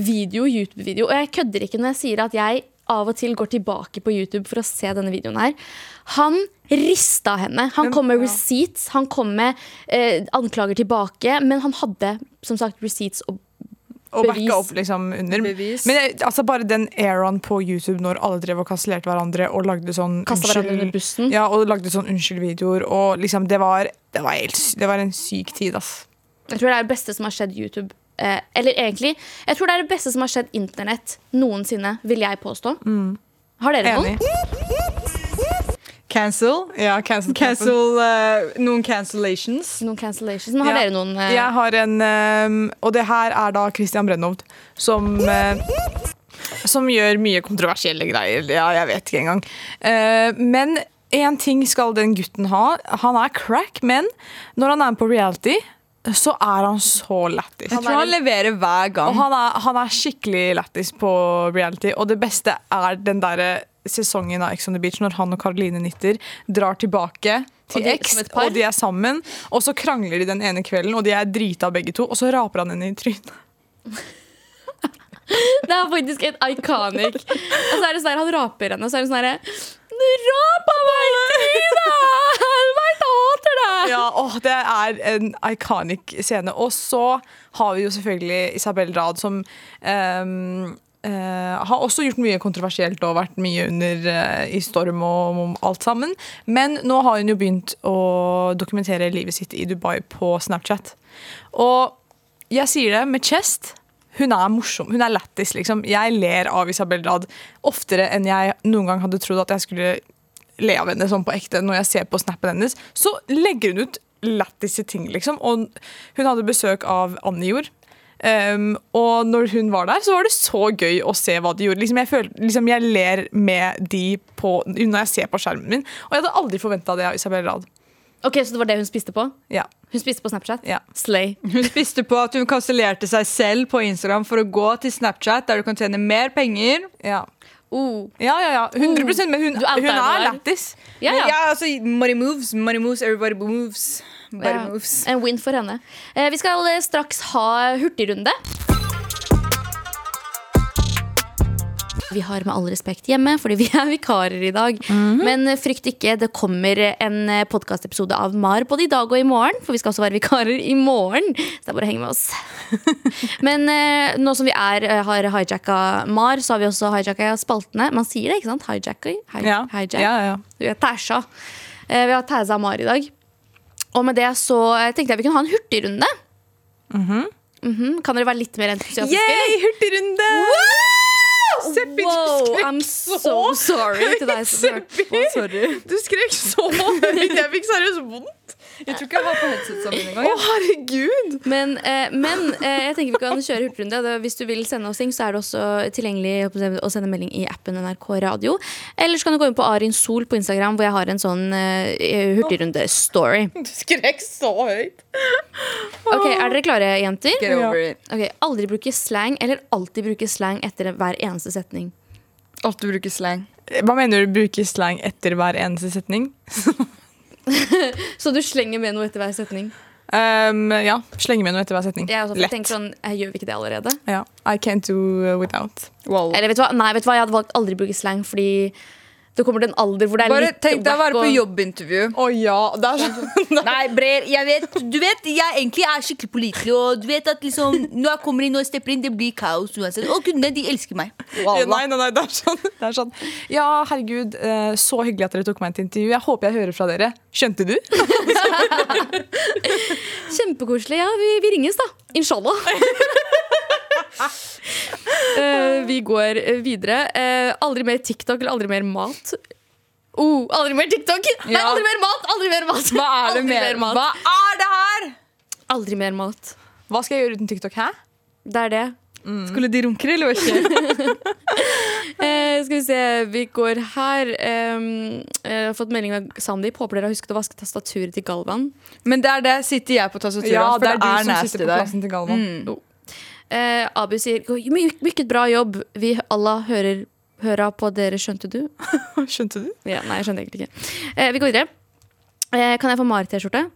[SPEAKER 2] video, YouTube-video. Og jeg kødder ikke når jeg sier at jeg av og til går tilbake på YouTube for å se denne videoen her. Han rista henne. Han kom med receipts, han kom med eh, anklager tilbake, men han hadde som sagt receipts og
[SPEAKER 5] Og
[SPEAKER 2] Bevis.
[SPEAKER 5] backa opp liksom under.
[SPEAKER 3] Bevis.
[SPEAKER 5] Men jeg- altså bare den eraen på YouTube når alle drev og kastellerte hverandre og lagde sånn
[SPEAKER 2] Kastet hverandre
[SPEAKER 5] unnskyld-
[SPEAKER 2] under bussen.
[SPEAKER 5] Ja, og lagde sånn unnskyld-videoer. Og liksom, det var, det, var helt, sy- det var en syk tid, ass.
[SPEAKER 2] Jeg tror det er det beste som har skjedd YouTube. Eh, eller egentlig, jeg tror det er det beste som har skjedd internett noensinne, vil jeg påstå. Har dere noen?
[SPEAKER 5] Mm. Enig.
[SPEAKER 3] Cancel.
[SPEAKER 5] Ja, cancel cancel.
[SPEAKER 3] Cancel eh, noen cancellations.
[SPEAKER 2] noen cancellations? Men har
[SPEAKER 5] Ja.
[SPEAKER 2] dere noen eh,
[SPEAKER 5] Jeg har en ehm, Og det her er da Christian Brennovd som eh, Som gjør mye kontroversielle greier. Ja, jeg vet ikke engang. Eh, men én ting skal den gutten ha. Han er crack, men når han er med på reality så er han så lættis.
[SPEAKER 3] Jeg tror han leverer hver
[SPEAKER 5] Og
[SPEAKER 3] gang.
[SPEAKER 5] han er, han er skikkelig lættis på reality. Og det beste er den derre sesongen av Ex on the Beach når han og Caroline Nitter drar tilbake til
[SPEAKER 2] de-
[SPEAKER 5] X,
[SPEAKER 2] som et par?
[SPEAKER 5] og de er sammen. Og så krangler de den ene kvelden, og de er drita begge to. Og så raper han henne i trynet.
[SPEAKER 2] Det er faktisk et iconic. Og så er det sånn her, han raper henne, og så er det sånn herre Du rapa meg i trynet! Helvete, jeg hater deg!
[SPEAKER 5] Ja, åh, Det er en iconic scene. Og så har vi jo selvfølgelig Isabel Rad, som ehm, eh, har også gjort mye kontroversielt og vært mye under eh, i storm og om alt sammen. Men nå har hun jo begynt å dokumentere livet sitt i Dubai på Snapchat. Og jeg sier det med chest. Hun er morsom. Hun er lættis, liksom. Jeg ler av Isabel Rad oftere enn jeg noen gang hadde trodd at jeg skulle le av henne sånn på ekte når jeg ser på snappen hennes, så legger hun ut lættisse ting, liksom. Og hun hadde besøk av Annie Jord. Um, og når hun var der, så var det så gøy å se hva de gjorde. Liksom, jeg, følte, liksom, jeg ler med de på, når jeg ser på skjermen min, og jeg hadde aldri forventa det av Isabel Rad.
[SPEAKER 2] Ok, Så det var det hun spiste på?
[SPEAKER 5] Ja.
[SPEAKER 2] Hun spiste på Snapchat?
[SPEAKER 5] Ja.
[SPEAKER 2] Slay.
[SPEAKER 3] Hun spiste på at hun kansellerte seg selv på Instagram for å gå til Snapchat, der du kan tjene mer penger.
[SPEAKER 5] Ja.
[SPEAKER 2] Oh.
[SPEAKER 5] ja, ja, ja. 100 Men hun,
[SPEAKER 2] Du outa
[SPEAKER 5] hun
[SPEAKER 2] henne
[SPEAKER 5] er
[SPEAKER 2] der.
[SPEAKER 5] lættis.
[SPEAKER 2] Ja, ja.
[SPEAKER 3] altså, money moves, money moves, everybody moves. Body
[SPEAKER 2] Ja.
[SPEAKER 3] moves.
[SPEAKER 2] En win for henne. Eh, vi skal eh, straks ha hurtigrunde. Vi har med all respekt hjemme, fordi vi er vikarer i dag.
[SPEAKER 5] Mhm.
[SPEAKER 2] Men eh, frykt ikke, det kommer en eh, podkastepisode av MAR både i dag og i morgen. For vi skal også være vikarer i morgen. Så det er bare å henge med oss. Men eh, nå som vi er, eh, har hijacka MAR, så har vi også hijacka spaltene. Man sier det, ikke sant? Hijacka? Hi
[SPEAKER 5] Ja.
[SPEAKER 2] hijack.
[SPEAKER 5] Ja, ja.
[SPEAKER 2] Vi har tæsja. Eh, Vi har tæsa Mari i dag. Og med det så eh, tenkte jeg vi kunne ha en hurtigrunde. Mhm. Kan dere være litt mer entusiastiske?
[SPEAKER 5] Yay, hurtigrunde! Seppi, du
[SPEAKER 2] Wow,
[SPEAKER 5] skrek
[SPEAKER 2] I'm so
[SPEAKER 5] så
[SPEAKER 2] sorry til deg som hørte på. Sorry.
[SPEAKER 5] Du skrek så høyt. Jeg fikk seriøst vondt.
[SPEAKER 3] Jeg tror ikke jeg har på headsetsa mine
[SPEAKER 5] Å, herregud.
[SPEAKER 2] Men, eh, men eh, jeg tenker vi kan kjøre hurtigrunde. Det- Hvis du vil sende oss ting, så er det også tilgjengelig å sende- å sende melding i appen NRK Radio. Eller så kan du gå inn på Arin Sol på Instagram, hvor jeg har en sånn eh, hurtigrunde-story.
[SPEAKER 5] Du skrek så høyt.
[SPEAKER 2] Ok, Er dere klare, jenter?
[SPEAKER 3] Get over it.
[SPEAKER 2] Ok, Aldri bruke slang, eller alltid bruke slang etter hver eneste setning.
[SPEAKER 3] Alt du bruker slang.
[SPEAKER 5] Hva mener du bruke slang etter hver eneste setning?
[SPEAKER 2] Så du slenger med noe etter hver setning?
[SPEAKER 5] Um, ja, slenge med noe etter hver setning.
[SPEAKER 2] Jeg har også fått
[SPEAKER 5] Lett.
[SPEAKER 2] tenkt sånn, jeg gjør vi ikke det allerede?
[SPEAKER 5] Ja. I can't do without.
[SPEAKER 3] Wow.
[SPEAKER 2] Eller vet du hva? Nei, vet du hva? jeg hadde valgt aldri bruke slang, fordi det kommer til en alder hvor det er
[SPEAKER 3] Bare
[SPEAKER 2] litt
[SPEAKER 3] tenk deg å
[SPEAKER 2] whack
[SPEAKER 3] være på
[SPEAKER 2] og-
[SPEAKER 3] jobbintervju.
[SPEAKER 5] Å ja, det er sånn.
[SPEAKER 9] Nei, Brer, jeg vet, du vet, jeg egentlig er skikkelig pålitelig. Og du vet at liksom, når jeg kommer inn og stepper inn, det blir kaos uansett. Og kundene, de elsker meg.
[SPEAKER 5] Ja,
[SPEAKER 9] Wallah.
[SPEAKER 5] Nei, nei, nei, det er sånn. Det er sånn. Ja, herregud, eh, så hyggelig at dere tok meg inn til intervju. Jeg håper jeg hører fra dere. Skjønte du?
[SPEAKER 2] Kjempekoselig. Ja, vi, vi ringes, da. Inshallah. Eh, vi går eh, videre. Eh, aldri mer TikTok eller aldri mer mat. Oh, aldri mer TikTok! Nei, aldri mer mat! Aldri mer mat!
[SPEAKER 3] Hva er det
[SPEAKER 2] aldri
[SPEAKER 3] mer?
[SPEAKER 2] mer mat.
[SPEAKER 3] Hva er det her?
[SPEAKER 2] Aldri mer mat.
[SPEAKER 5] Hva skal jeg gjøre uten TikTok? Hæ?
[SPEAKER 2] Det er det.
[SPEAKER 3] Mm. Skulle de runke, eller hva skjer?
[SPEAKER 2] Eh, skal vi se, vi går her. Em, jeg har fått melding av Sandeep. Håper dere har husket å vaske tastaturet til Galvan.
[SPEAKER 3] Men det er det. Sitter jeg på tastaturet? for det er,
[SPEAKER 5] du som
[SPEAKER 3] nasty
[SPEAKER 5] sitter på
[SPEAKER 3] der.
[SPEAKER 5] plassen til Galvan.
[SPEAKER 3] Mm.
[SPEAKER 2] Eh, Abu sier «Go- my- mykket bra jobb. Vi Allah hører høra på dere, skjønte du?
[SPEAKER 5] Skjønte du?
[SPEAKER 2] Ja, nei, jeg skjønte egentlig ikke. Eh, vi går videre. Eh, kan jeg få Mar-T-skjorte?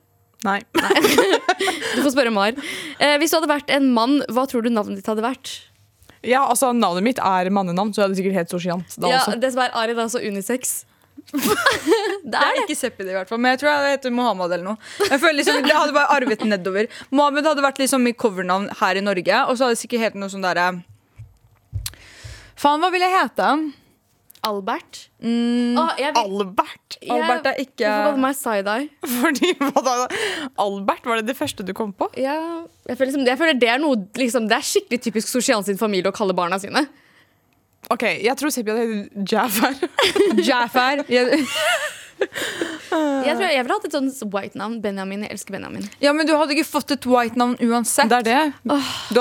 [SPEAKER 5] Nei.
[SPEAKER 2] Du får spørre Mar. Eh, hvis du hadde vært en mann, hva tror du navnet ditt hadde vært?
[SPEAKER 5] Ja, altså, navnet mitt er mannenavn, så jeg hadde sikkert helt Sorsiant da
[SPEAKER 2] ja,
[SPEAKER 5] også.
[SPEAKER 2] Det som er Ari, det er også unisex. det
[SPEAKER 3] Det
[SPEAKER 2] er
[SPEAKER 3] er
[SPEAKER 2] det.
[SPEAKER 3] ikke Seppi, det, i hvert fall. Men jeg tror jeg heter Mohammed eller noe. Jeg føler liksom, Det hadde bare arvet nedover. Mohammed hadde vært liksom mitt covernavn her i Norge. Og så hadde det sikkert hett noe sånn derre Faen, hva vil jeg hete?
[SPEAKER 2] Albert. Å, jeg, vil-
[SPEAKER 5] Albert.
[SPEAKER 2] jeg,
[SPEAKER 3] Albert er ikke-
[SPEAKER 2] Hvorfor kaller du meg side-eye?
[SPEAKER 5] Fordi, hva da? Albert, var det det første du kom på?
[SPEAKER 2] Ja, jeg føler, liksom, jeg føler det er noe liksom, Det er skikkelig typisk Sosian sin familie å kalle barna sine.
[SPEAKER 5] Ok, jeg tror Seppi hadde Jafar.
[SPEAKER 3] Jafar. Jeg-
[SPEAKER 2] Jeg tror jeg, jeg ville hatt et sånt white navn. Benjamin. Jeg elsker Benjamin.
[SPEAKER 3] Ja, men du hadde ikke fått et white-navn uansett.
[SPEAKER 5] Det er det. Du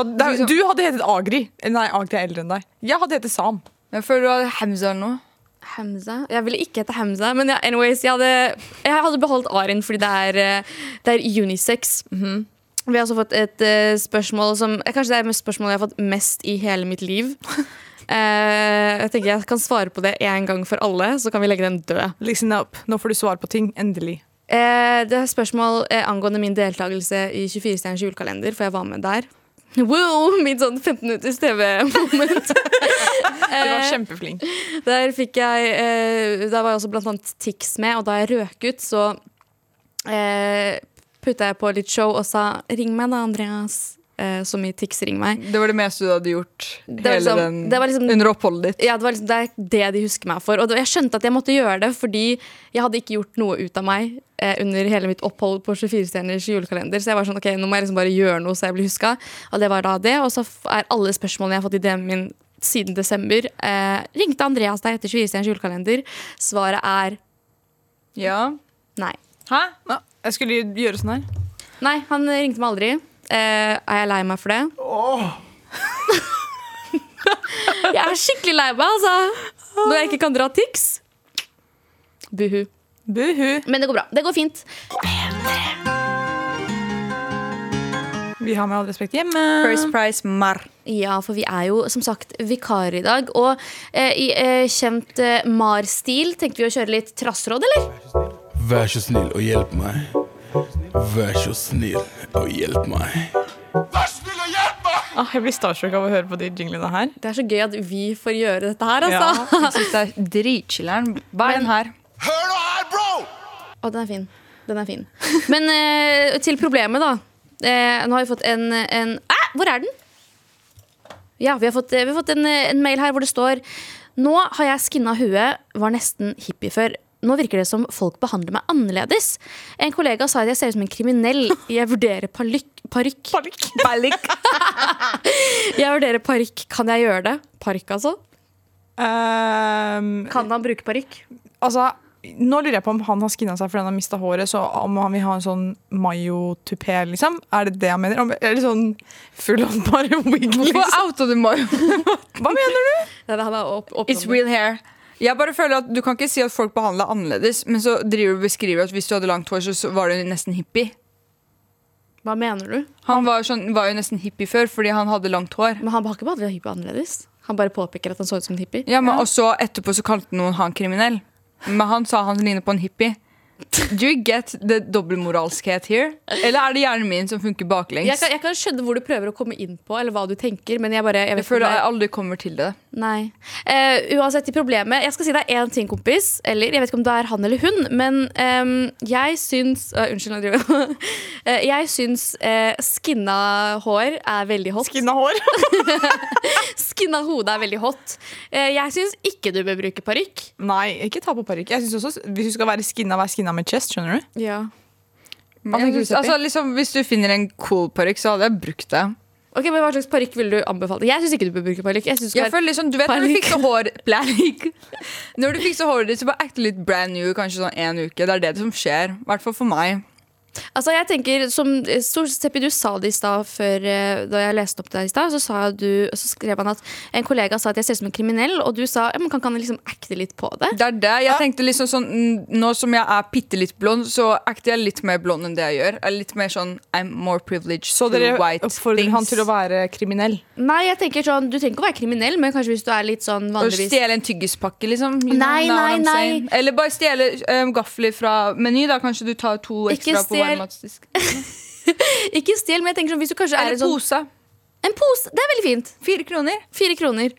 [SPEAKER 5] hadde, det er- du hadde hetet Agri. Nei, Agri er eldre enn deg. Jeg hadde hetet Sam.
[SPEAKER 3] Jeg føler du hadde Hamza eller noe.
[SPEAKER 2] Hamza. Jeg ville ikke hete Hamza, men ja, anyways, jeg hadde, jeg hadde beholdt Arin fordi det er, eh, det er unisex. Vi har også fått et eh, spørsmål som eh, Kanskje det er mest spørsmålet jeg har fått mest i hele mitt liv. Eh, jeg tenker jeg kan svare på det en gang for alle, så kan vi legge den død.
[SPEAKER 5] Listen up. Nå får du svar på ting. Endelig.
[SPEAKER 2] Eh, det er spørsmål eh, angående min deltakelse i 24-stjerners julekalender, for jeg var med der. Wow, mitt sånn 15 minutters TV-moment.
[SPEAKER 5] Du var
[SPEAKER 3] Eh.
[SPEAKER 5] kjempeflink.
[SPEAKER 2] Der fikk jeg eh, Der var jeg også blant annet Tix med, og da jeg røk ut, så eh, putta jeg på litt show og sa 'ring meg da, Andreas', eh, som i Tix 'ring meg'.
[SPEAKER 3] Det var det meste du hadde gjort
[SPEAKER 2] var
[SPEAKER 3] hele
[SPEAKER 2] liksom-
[SPEAKER 3] den,
[SPEAKER 2] det var liksom-
[SPEAKER 3] under oppholdet ditt.
[SPEAKER 2] Ja, det, var liksom, det er det de husker meg for. Og det, jeg skjønte at jeg måtte gjøre det, fordi jeg hadde ikke gjort noe ut av meg eh, under hele mitt opphold på 24-stjerners julekalender. Så jeg var sånn, ok, nå må jeg liksom bare gjøre noe så jeg blir huska. Og det var da det. Og så f- er alle spørsmålene jeg har fått i DM-en min siden desember eh, Ringte Andreas deg etter 24-stjerners julekalender? Svaret er
[SPEAKER 3] Ja.
[SPEAKER 2] nei.
[SPEAKER 5] Hæ? Nå, jeg skulle gjøre sånn her.
[SPEAKER 2] Nei, han ringte meg aldri. Eh, er jeg lei meg for det? jeg er skikkelig lei meg, altså. Når jeg ikke kan dra Tix. Buhu.
[SPEAKER 5] Buhu.
[SPEAKER 2] Men det går bra. Det går fint.
[SPEAKER 5] Vi har med all respekt hjemme.
[SPEAKER 3] First Price Mar.
[SPEAKER 2] Ja, for vi er jo som sagt vikarer i dag. Og eh, i eh, kjent eh, MAR-stil tenkte vi å kjøre litt trassråd, eller?
[SPEAKER 8] Vær så snill og hjelp meg. Vær så snill og hjelp meg.
[SPEAKER 5] Ah, jeg blir starstruck av å høre på de jinglene her.
[SPEAKER 2] Det er så gøy at vi får gjøre dette her,
[SPEAKER 5] Ja.
[SPEAKER 2] altså.
[SPEAKER 3] Jeg synes det er dritchiller'n. Hva er den her?
[SPEAKER 8] Hør nå her, bro!
[SPEAKER 2] Og den er fin. Den er fin. Men eh, til problemet, da. Eh, nå har vi fått en, en Æ, hvor er den? Ja, vi har fått, eh, vi har fått en, eh, en mail her hvor det står Nå har jeg skinna huet, var nesten hippie før. Nå virker det som folk behandler meg annerledes. En kollega sa at jeg ser ut som en kriminell. Jeg vurderer palykk- parykk. Jeg vurderer parykk. Kan jeg gjøre det? Parykk, altså?
[SPEAKER 5] Ehm,
[SPEAKER 2] Kan han bruke parykk?
[SPEAKER 5] altså, nå lurer jeg på om han har skinna seg fordi han har mista håret, så om han vil ha en sånn mayo-tupé, liksom? Er det det han mener? Om- Eller sånn full on bare wig,
[SPEAKER 3] Hvorfor
[SPEAKER 5] liksom?
[SPEAKER 3] outa du meg?
[SPEAKER 5] Hva mener du?
[SPEAKER 3] It's real hair. Jeg bare føler at Du kan ikke si at folk behandler annerledes, men så driver du og beskriver at hvis du hadde langt hår, så- så var du nesten hippie.
[SPEAKER 2] Hva mener du?
[SPEAKER 3] Han var, sånn, var jo nesten hippie før fordi han hadde langt hår.
[SPEAKER 2] Men han har ikke behandlet hippie annerledes. Han bare påpeker at han så ut som en hippie.
[SPEAKER 3] Ja, men også etterpå så kalte noen han kriminell. Men han sa han ligner på en hippie. Do you get the dobbeltmoralskhet here? Eller er det hjernen min som funker baklengs?
[SPEAKER 2] Jeg
[SPEAKER 3] Jeg,
[SPEAKER 2] kan, jeg kan skjønne hvor du prøver å komme inn på, eller hva du tenker, men jeg bare Jeg, vet ikke om
[SPEAKER 3] føler
[SPEAKER 2] det
[SPEAKER 3] jeg
[SPEAKER 2] er-
[SPEAKER 3] aldri kommer til det.
[SPEAKER 2] Nei. Eh, uansett i problemet Jeg skal si deg én ting, kompis. Eller jeg vet ikke om det er han eller hun, men ehm, jeg syns Å, Unnskyld, nå driver jeg Eh, Jeg syns eh, skinna hår er veldig hot.
[SPEAKER 5] Skinna hår.
[SPEAKER 2] Skinna hode er veldig hot. Eh, jeg syns ikke du bør bruke parykk.
[SPEAKER 5] Nei, ikke ta på parykk. Jeg synes også, Hvis du skal være skinna, vær skinna med chest. skjønner du?
[SPEAKER 2] Ja.
[SPEAKER 3] Men jeg
[SPEAKER 5] tenker du,
[SPEAKER 3] synes- Altså, liksom, hvis du finner en cool parykk, så hadde jeg brukt det.
[SPEAKER 2] Ok, men Hva slags parykk ville du anbefalt? Jeg syns ikke du bør bruke parykk. Jeg synes du skal
[SPEAKER 3] Jeg
[SPEAKER 2] være-
[SPEAKER 3] føler liksom, du vet når du
[SPEAKER 2] Panikk.
[SPEAKER 3] fikser hår Panikk. Når du fikser håret ditt, så bare act litt brand new kanskje sånn en uke. Det er det som skjer. I hvert fall for meg.
[SPEAKER 2] Altså jeg tenker, som Stor- Seppi, du sa det i stad før eh, Da jeg leste opp det her i stad, så, sa du- så skrev han at en kollega sa at jeg ser ut som en kriminell, og du sa ja, men kan, kan jeg liksom acte litt på det.
[SPEAKER 3] Det er det. Jeg tenkte liksom sånn mm, Nå som jeg er bitte litt blond, så acter jeg litt mer blond enn det jeg gjør. Jeg er litt mer sånn I'm more privileged
[SPEAKER 5] Så dere
[SPEAKER 3] to white
[SPEAKER 5] oppfordrer han til å være kriminell.
[SPEAKER 2] Nei, jeg tenker sånn, Du trenger ikke å være kriminell, men kanskje hvis du er litt sånn
[SPEAKER 3] Å
[SPEAKER 2] vanligvis
[SPEAKER 3] stjele en tyggispakke, liksom. You
[SPEAKER 2] Nei,
[SPEAKER 3] know what
[SPEAKER 2] nei,
[SPEAKER 3] I'm
[SPEAKER 2] nei.
[SPEAKER 3] saying? Eller bare stjele um, gafler fra Meny, da. Kanskje du tar to
[SPEAKER 2] Ikke
[SPEAKER 3] ekstra på
[SPEAKER 2] stjel-
[SPEAKER 3] varmmatsdisk.
[SPEAKER 2] Ikke stjel, men jeg tenker sånn, hvis du kanskje er
[SPEAKER 3] Eller
[SPEAKER 2] en sånn
[SPEAKER 3] pose.
[SPEAKER 2] En pose! Det er veldig fint.
[SPEAKER 3] Fire kroner.
[SPEAKER 2] Fire kroner.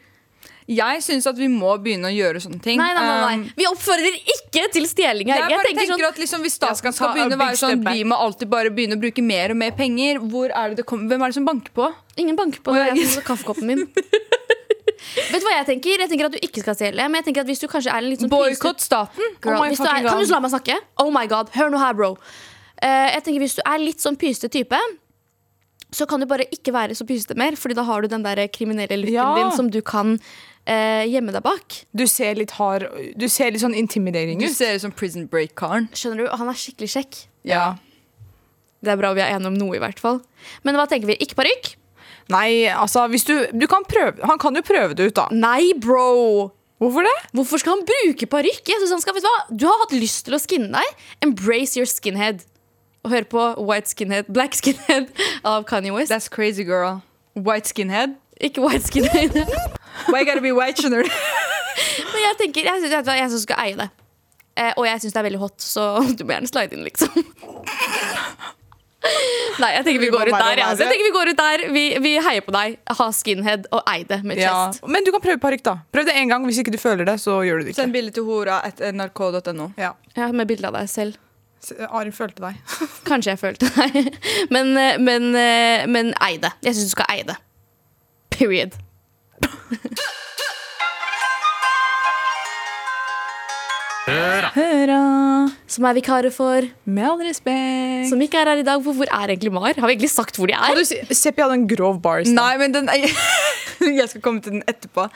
[SPEAKER 3] Jeg syns at vi må begynne å gjøre sånne ting.
[SPEAKER 2] Nei, nei, nei,
[SPEAKER 3] Um,
[SPEAKER 2] nei. Vi oppfordrer ikke til stjeling her.
[SPEAKER 3] Jeg
[SPEAKER 2] Jeg
[SPEAKER 3] bare
[SPEAKER 2] tenker
[SPEAKER 3] tenker
[SPEAKER 2] sånn
[SPEAKER 3] at liksom, Hvis
[SPEAKER 5] Jeg skal
[SPEAKER 3] staten skal
[SPEAKER 5] ta a
[SPEAKER 3] begynne å
[SPEAKER 5] big
[SPEAKER 3] være
[SPEAKER 5] step
[SPEAKER 3] sånn
[SPEAKER 5] back.
[SPEAKER 3] Vi må alltid bare begynne å bruke mer og mer penger. Hvor er det det kommer, hvem er det som banker på?
[SPEAKER 2] Ingen banker på
[SPEAKER 3] Å,
[SPEAKER 2] det.
[SPEAKER 3] ja.
[SPEAKER 2] Jeg tok kaffekoppen min. Vet du hva jeg tenker? Jeg tenker at du ikke skal stjele. Men jeg tenker at hvis du kanskje er en litt sånn
[SPEAKER 3] Boikott staten!
[SPEAKER 2] Girl,
[SPEAKER 5] Oh my
[SPEAKER 2] hvis du er,
[SPEAKER 5] fucking
[SPEAKER 2] kan du
[SPEAKER 5] god.
[SPEAKER 2] la meg snakke? Oh my god, Hør nå her, bro. Eh, jeg tenker Hvis du er litt sånn pysete type, så kan du bare ikke være så pysete mer. Fordi da har du den der kriminelle looken
[SPEAKER 5] Ja.
[SPEAKER 2] din som du kan eh, gjemme deg bak.
[SPEAKER 5] Du ser litt hard Du ser litt sånn intimidering
[SPEAKER 3] Du
[SPEAKER 5] ut.
[SPEAKER 3] ser ut som Prison Break-karen.
[SPEAKER 2] Skjønner du? Han er skikkelig kjekk.
[SPEAKER 5] Ja.
[SPEAKER 2] Det er bra vi er enige om noe, i hvert fall. Men hva tenker vi? Ikke parykk?
[SPEAKER 5] Nei, altså hvis du, du kan prøve, Han kan jo prøve det ut, da.
[SPEAKER 2] Nei, bro!
[SPEAKER 5] Hvorfor det?
[SPEAKER 2] Hvorfor skal han bruke parykk? Jeg synes han skal, vet Du hva? Du har hatt lyst til å skinne deg. Embrace your skinhead. og hør på White Skinhead, Black Skinhead av Kanye West.
[SPEAKER 3] That's crazy, girl. White skinhead.
[SPEAKER 2] Ikke White Skinhead.
[SPEAKER 3] Why gotta be white, skjønner du?
[SPEAKER 2] Men jeg tenker, jeg synes, vet du hva, jeg synes du skal eie det. Eh, og jeg syns det er veldig hot, så du må gjerne slide inn, liksom. Nei, jeg tenker vi går ut der. jeg, Altså. Jeg tenker Vi går ut der Vi, vi heier på deg. Ha skinhead og ei det med
[SPEAKER 5] Ja.
[SPEAKER 2] chest.
[SPEAKER 5] Men du kan prøve parykk, da. Prøv det én gang. Hvis ikke du føler det, så gjør du det ikke.
[SPEAKER 3] Send bilde til hora eh, etter nrk.no.
[SPEAKER 5] Ja.
[SPEAKER 2] Ja, med bilde av deg selv.
[SPEAKER 5] S- Arin følte deg.
[SPEAKER 2] Kanskje jeg følte deg. Men, eh, men, eh, men ei det. Jeg syns du skal eie det. Period. Som er vikarer for,
[SPEAKER 5] Med all respekt.
[SPEAKER 2] som ikke er her i dag. For hvor er egentlig Mar? Har vi egentlig sagt hvor de er?
[SPEAKER 5] Du, si- Seppi hadde en grov bars. da.
[SPEAKER 3] Nei, men den er, Jeg skal komme til den etterpå.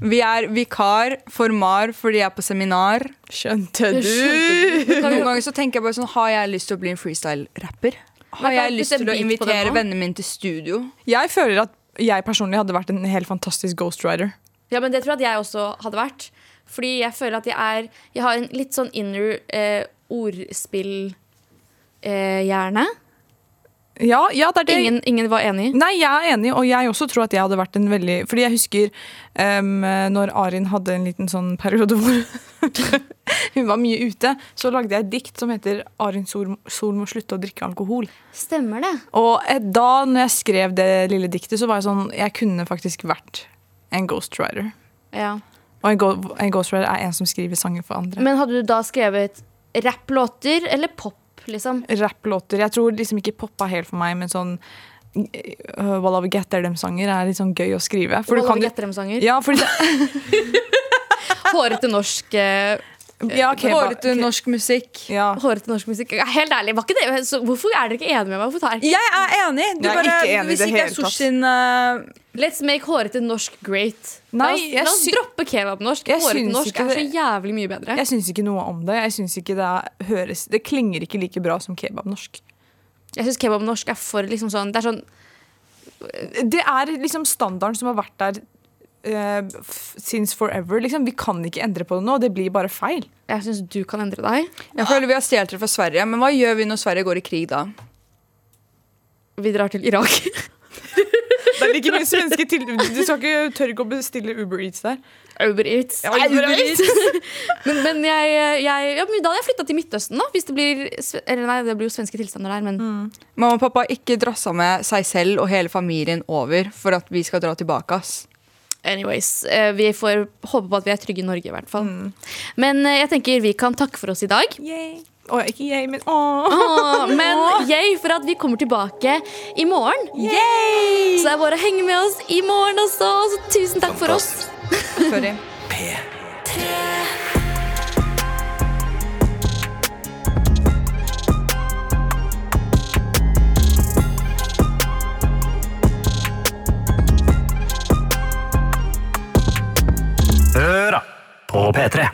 [SPEAKER 3] Vi er vikar for MAR fordi jeg er på seminar.
[SPEAKER 5] Skjønte
[SPEAKER 2] Jeg skjønte
[SPEAKER 5] du?
[SPEAKER 3] Noen ganger så tenker jeg bare sånn Har jeg lyst til å bli en freestyle-rapper? Har
[SPEAKER 2] kan
[SPEAKER 3] jeg
[SPEAKER 2] du
[SPEAKER 3] lyst
[SPEAKER 2] putte
[SPEAKER 3] til å
[SPEAKER 2] en beat på
[SPEAKER 3] invitere
[SPEAKER 2] den nå?
[SPEAKER 3] vennene mine til studio?
[SPEAKER 5] Jeg føler at jeg personlig hadde vært en helt fantastisk ghostwriter.
[SPEAKER 2] Ja, men det tror jeg at jeg også hadde vært. Fordi jeg føler at jeg er Jeg har en litt sånn inner eh, ordspillhjerne. Eh, hjerne.
[SPEAKER 5] Ja, ja, det er det.
[SPEAKER 2] ingen, ingen var enig.
[SPEAKER 5] Nei, jeg er enig, og jeg også tror at jeg hadde vært en veldig Fordi jeg husker em, når Arin hadde en liten sånn periode hvor hun var mye ute, så lagde jeg et dikt som heter 'Arin Sol, Sol må slutte å drikke alkohol'.
[SPEAKER 2] Stemmer det.
[SPEAKER 5] Og eh, da når jeg skrev det lille diktet, så var jeg sånn Jeg kunne faktisk vært en ghostwriter.
[SPEAKER 2] Ja.
[SPEAKER 5] Og en, go en ghostwriter er en som skriver sanger for andre.
[SPEAKER 2] Men hadde du da skrevet rapplåter eller pop, liksom?
[SPEAKER 5] Rapplåter. Jeg tror liksom ikke poppa helt for meg, men sånn uh, Walla We Get There-dem-sanger er litt sånn gøy å skrive. For du kan jo
[SPEAKER 2] Gjetterem-sanger?
[SPEAKER 5] ja, fordi det,
[SPEAKER 2] Hårete norsk eh,
[SPEAKER 5] ja, ok, ba-
[SPEAKER 3] Hårete norsk musikk.
[SPEAKER 5] Ja.
[SPEAKER 2] Hårete norsk musikk. Helt ærlig, var ikke det så Hvorfor er dere ikke enige med meg? Hvorfor tar jeg-
[SPEAKER 3] Jeg er enig! Du
[SPEAKER 5] Jeg er
[SPEAKER 3] bare,
[SPEAKER 5] ikke enig i
[SPEAKER 3] hvis
[SPEAKER 5] det
[SPEAKER 3] ikke
[SPEAKER 5] hele
[SPEAKER 3] er
[SPEAKER 5] tatt.
[SPEAKER 3] sushien eh,
[SPEAKER 2] Let's make hårete norsk great.
[SPEAKER 5] Nei,
[SPEAKER 2] la oss,
[SPEAKER 5] jeg
[SPEAKER 2] la oss
[SPEAKER 5] sy-
[SPEAKER 2] droppe kebabnorsk.
[SPEAKER 5] Jeg
[SPEAKER 2] Hårete
[SPEAKER 5] synes
[SPEAKER 2] norsk
[SPEAKER 5] ikke
[SPEAKER 2] er så
[SPEAKER 5] det-
[SPEAKER 2] jævlig mye bedre.
[SPEAKER 5] Jeg syns ikke noe om det. Jeg synes ikke Det er- høres Det klinger ikke like bra som kebabnorsk.
[SPEAKER 2] Jeg syns kebab norsk er for liksom sånn Det er sånn
[SPEAKER 5] Det er liksom standarden som har vært der eh, f- since forever. Liksom. Vi kan ikke endre på det nå. Det blir bare feil.
[SPEAKER 2] Jeg syns du kan endre deg.
[SPEAKER 3] Jeg føler vi har stjålet det fra Sverige, men hva gjør vi når Sverige går i krig, da?
[SPEAKER 2] Vi drar til Irak.
[SPEAKER 5] Det er like mye svenske til Du skal ikke tørre ikke å bestille Uber Eats der.
[SPEAKER 2] Uber Eats.
[SPEAKER 5] Ja, Uber
[SPEAKER 2] Nei, men men jeg, jeg, ja, men da hadde jeg flytta til Midtøsten, da. Hvis det blir sve- Eller nei, det blir jo svenske tilstander der,
[SPEAKER 5] Mm.
[SPEAKER 2] men
[SPEAKER 3] Mamma og pappa, ikke drassa med seg selv og hele familien over for at vi skal dra tilbake, ass.
[SPEAKER 2] anyways. eh, Vi får håpe på at vi er trygge i Norge, i hvert fall. Men eh, jeg tenker vi kan takke for oss i dag.
[SPEAKER 5] Yay. Å, ikke yay, men åh.
[SPEAKER 2] Åh, Men yay for at vi kommer tilbake i morgen. Så det er bare å henge med oss i morgen også. Så tusen takk for oss.
[SPEAKER 3] Sorry.
[SPEAKER 1] Høra på P3.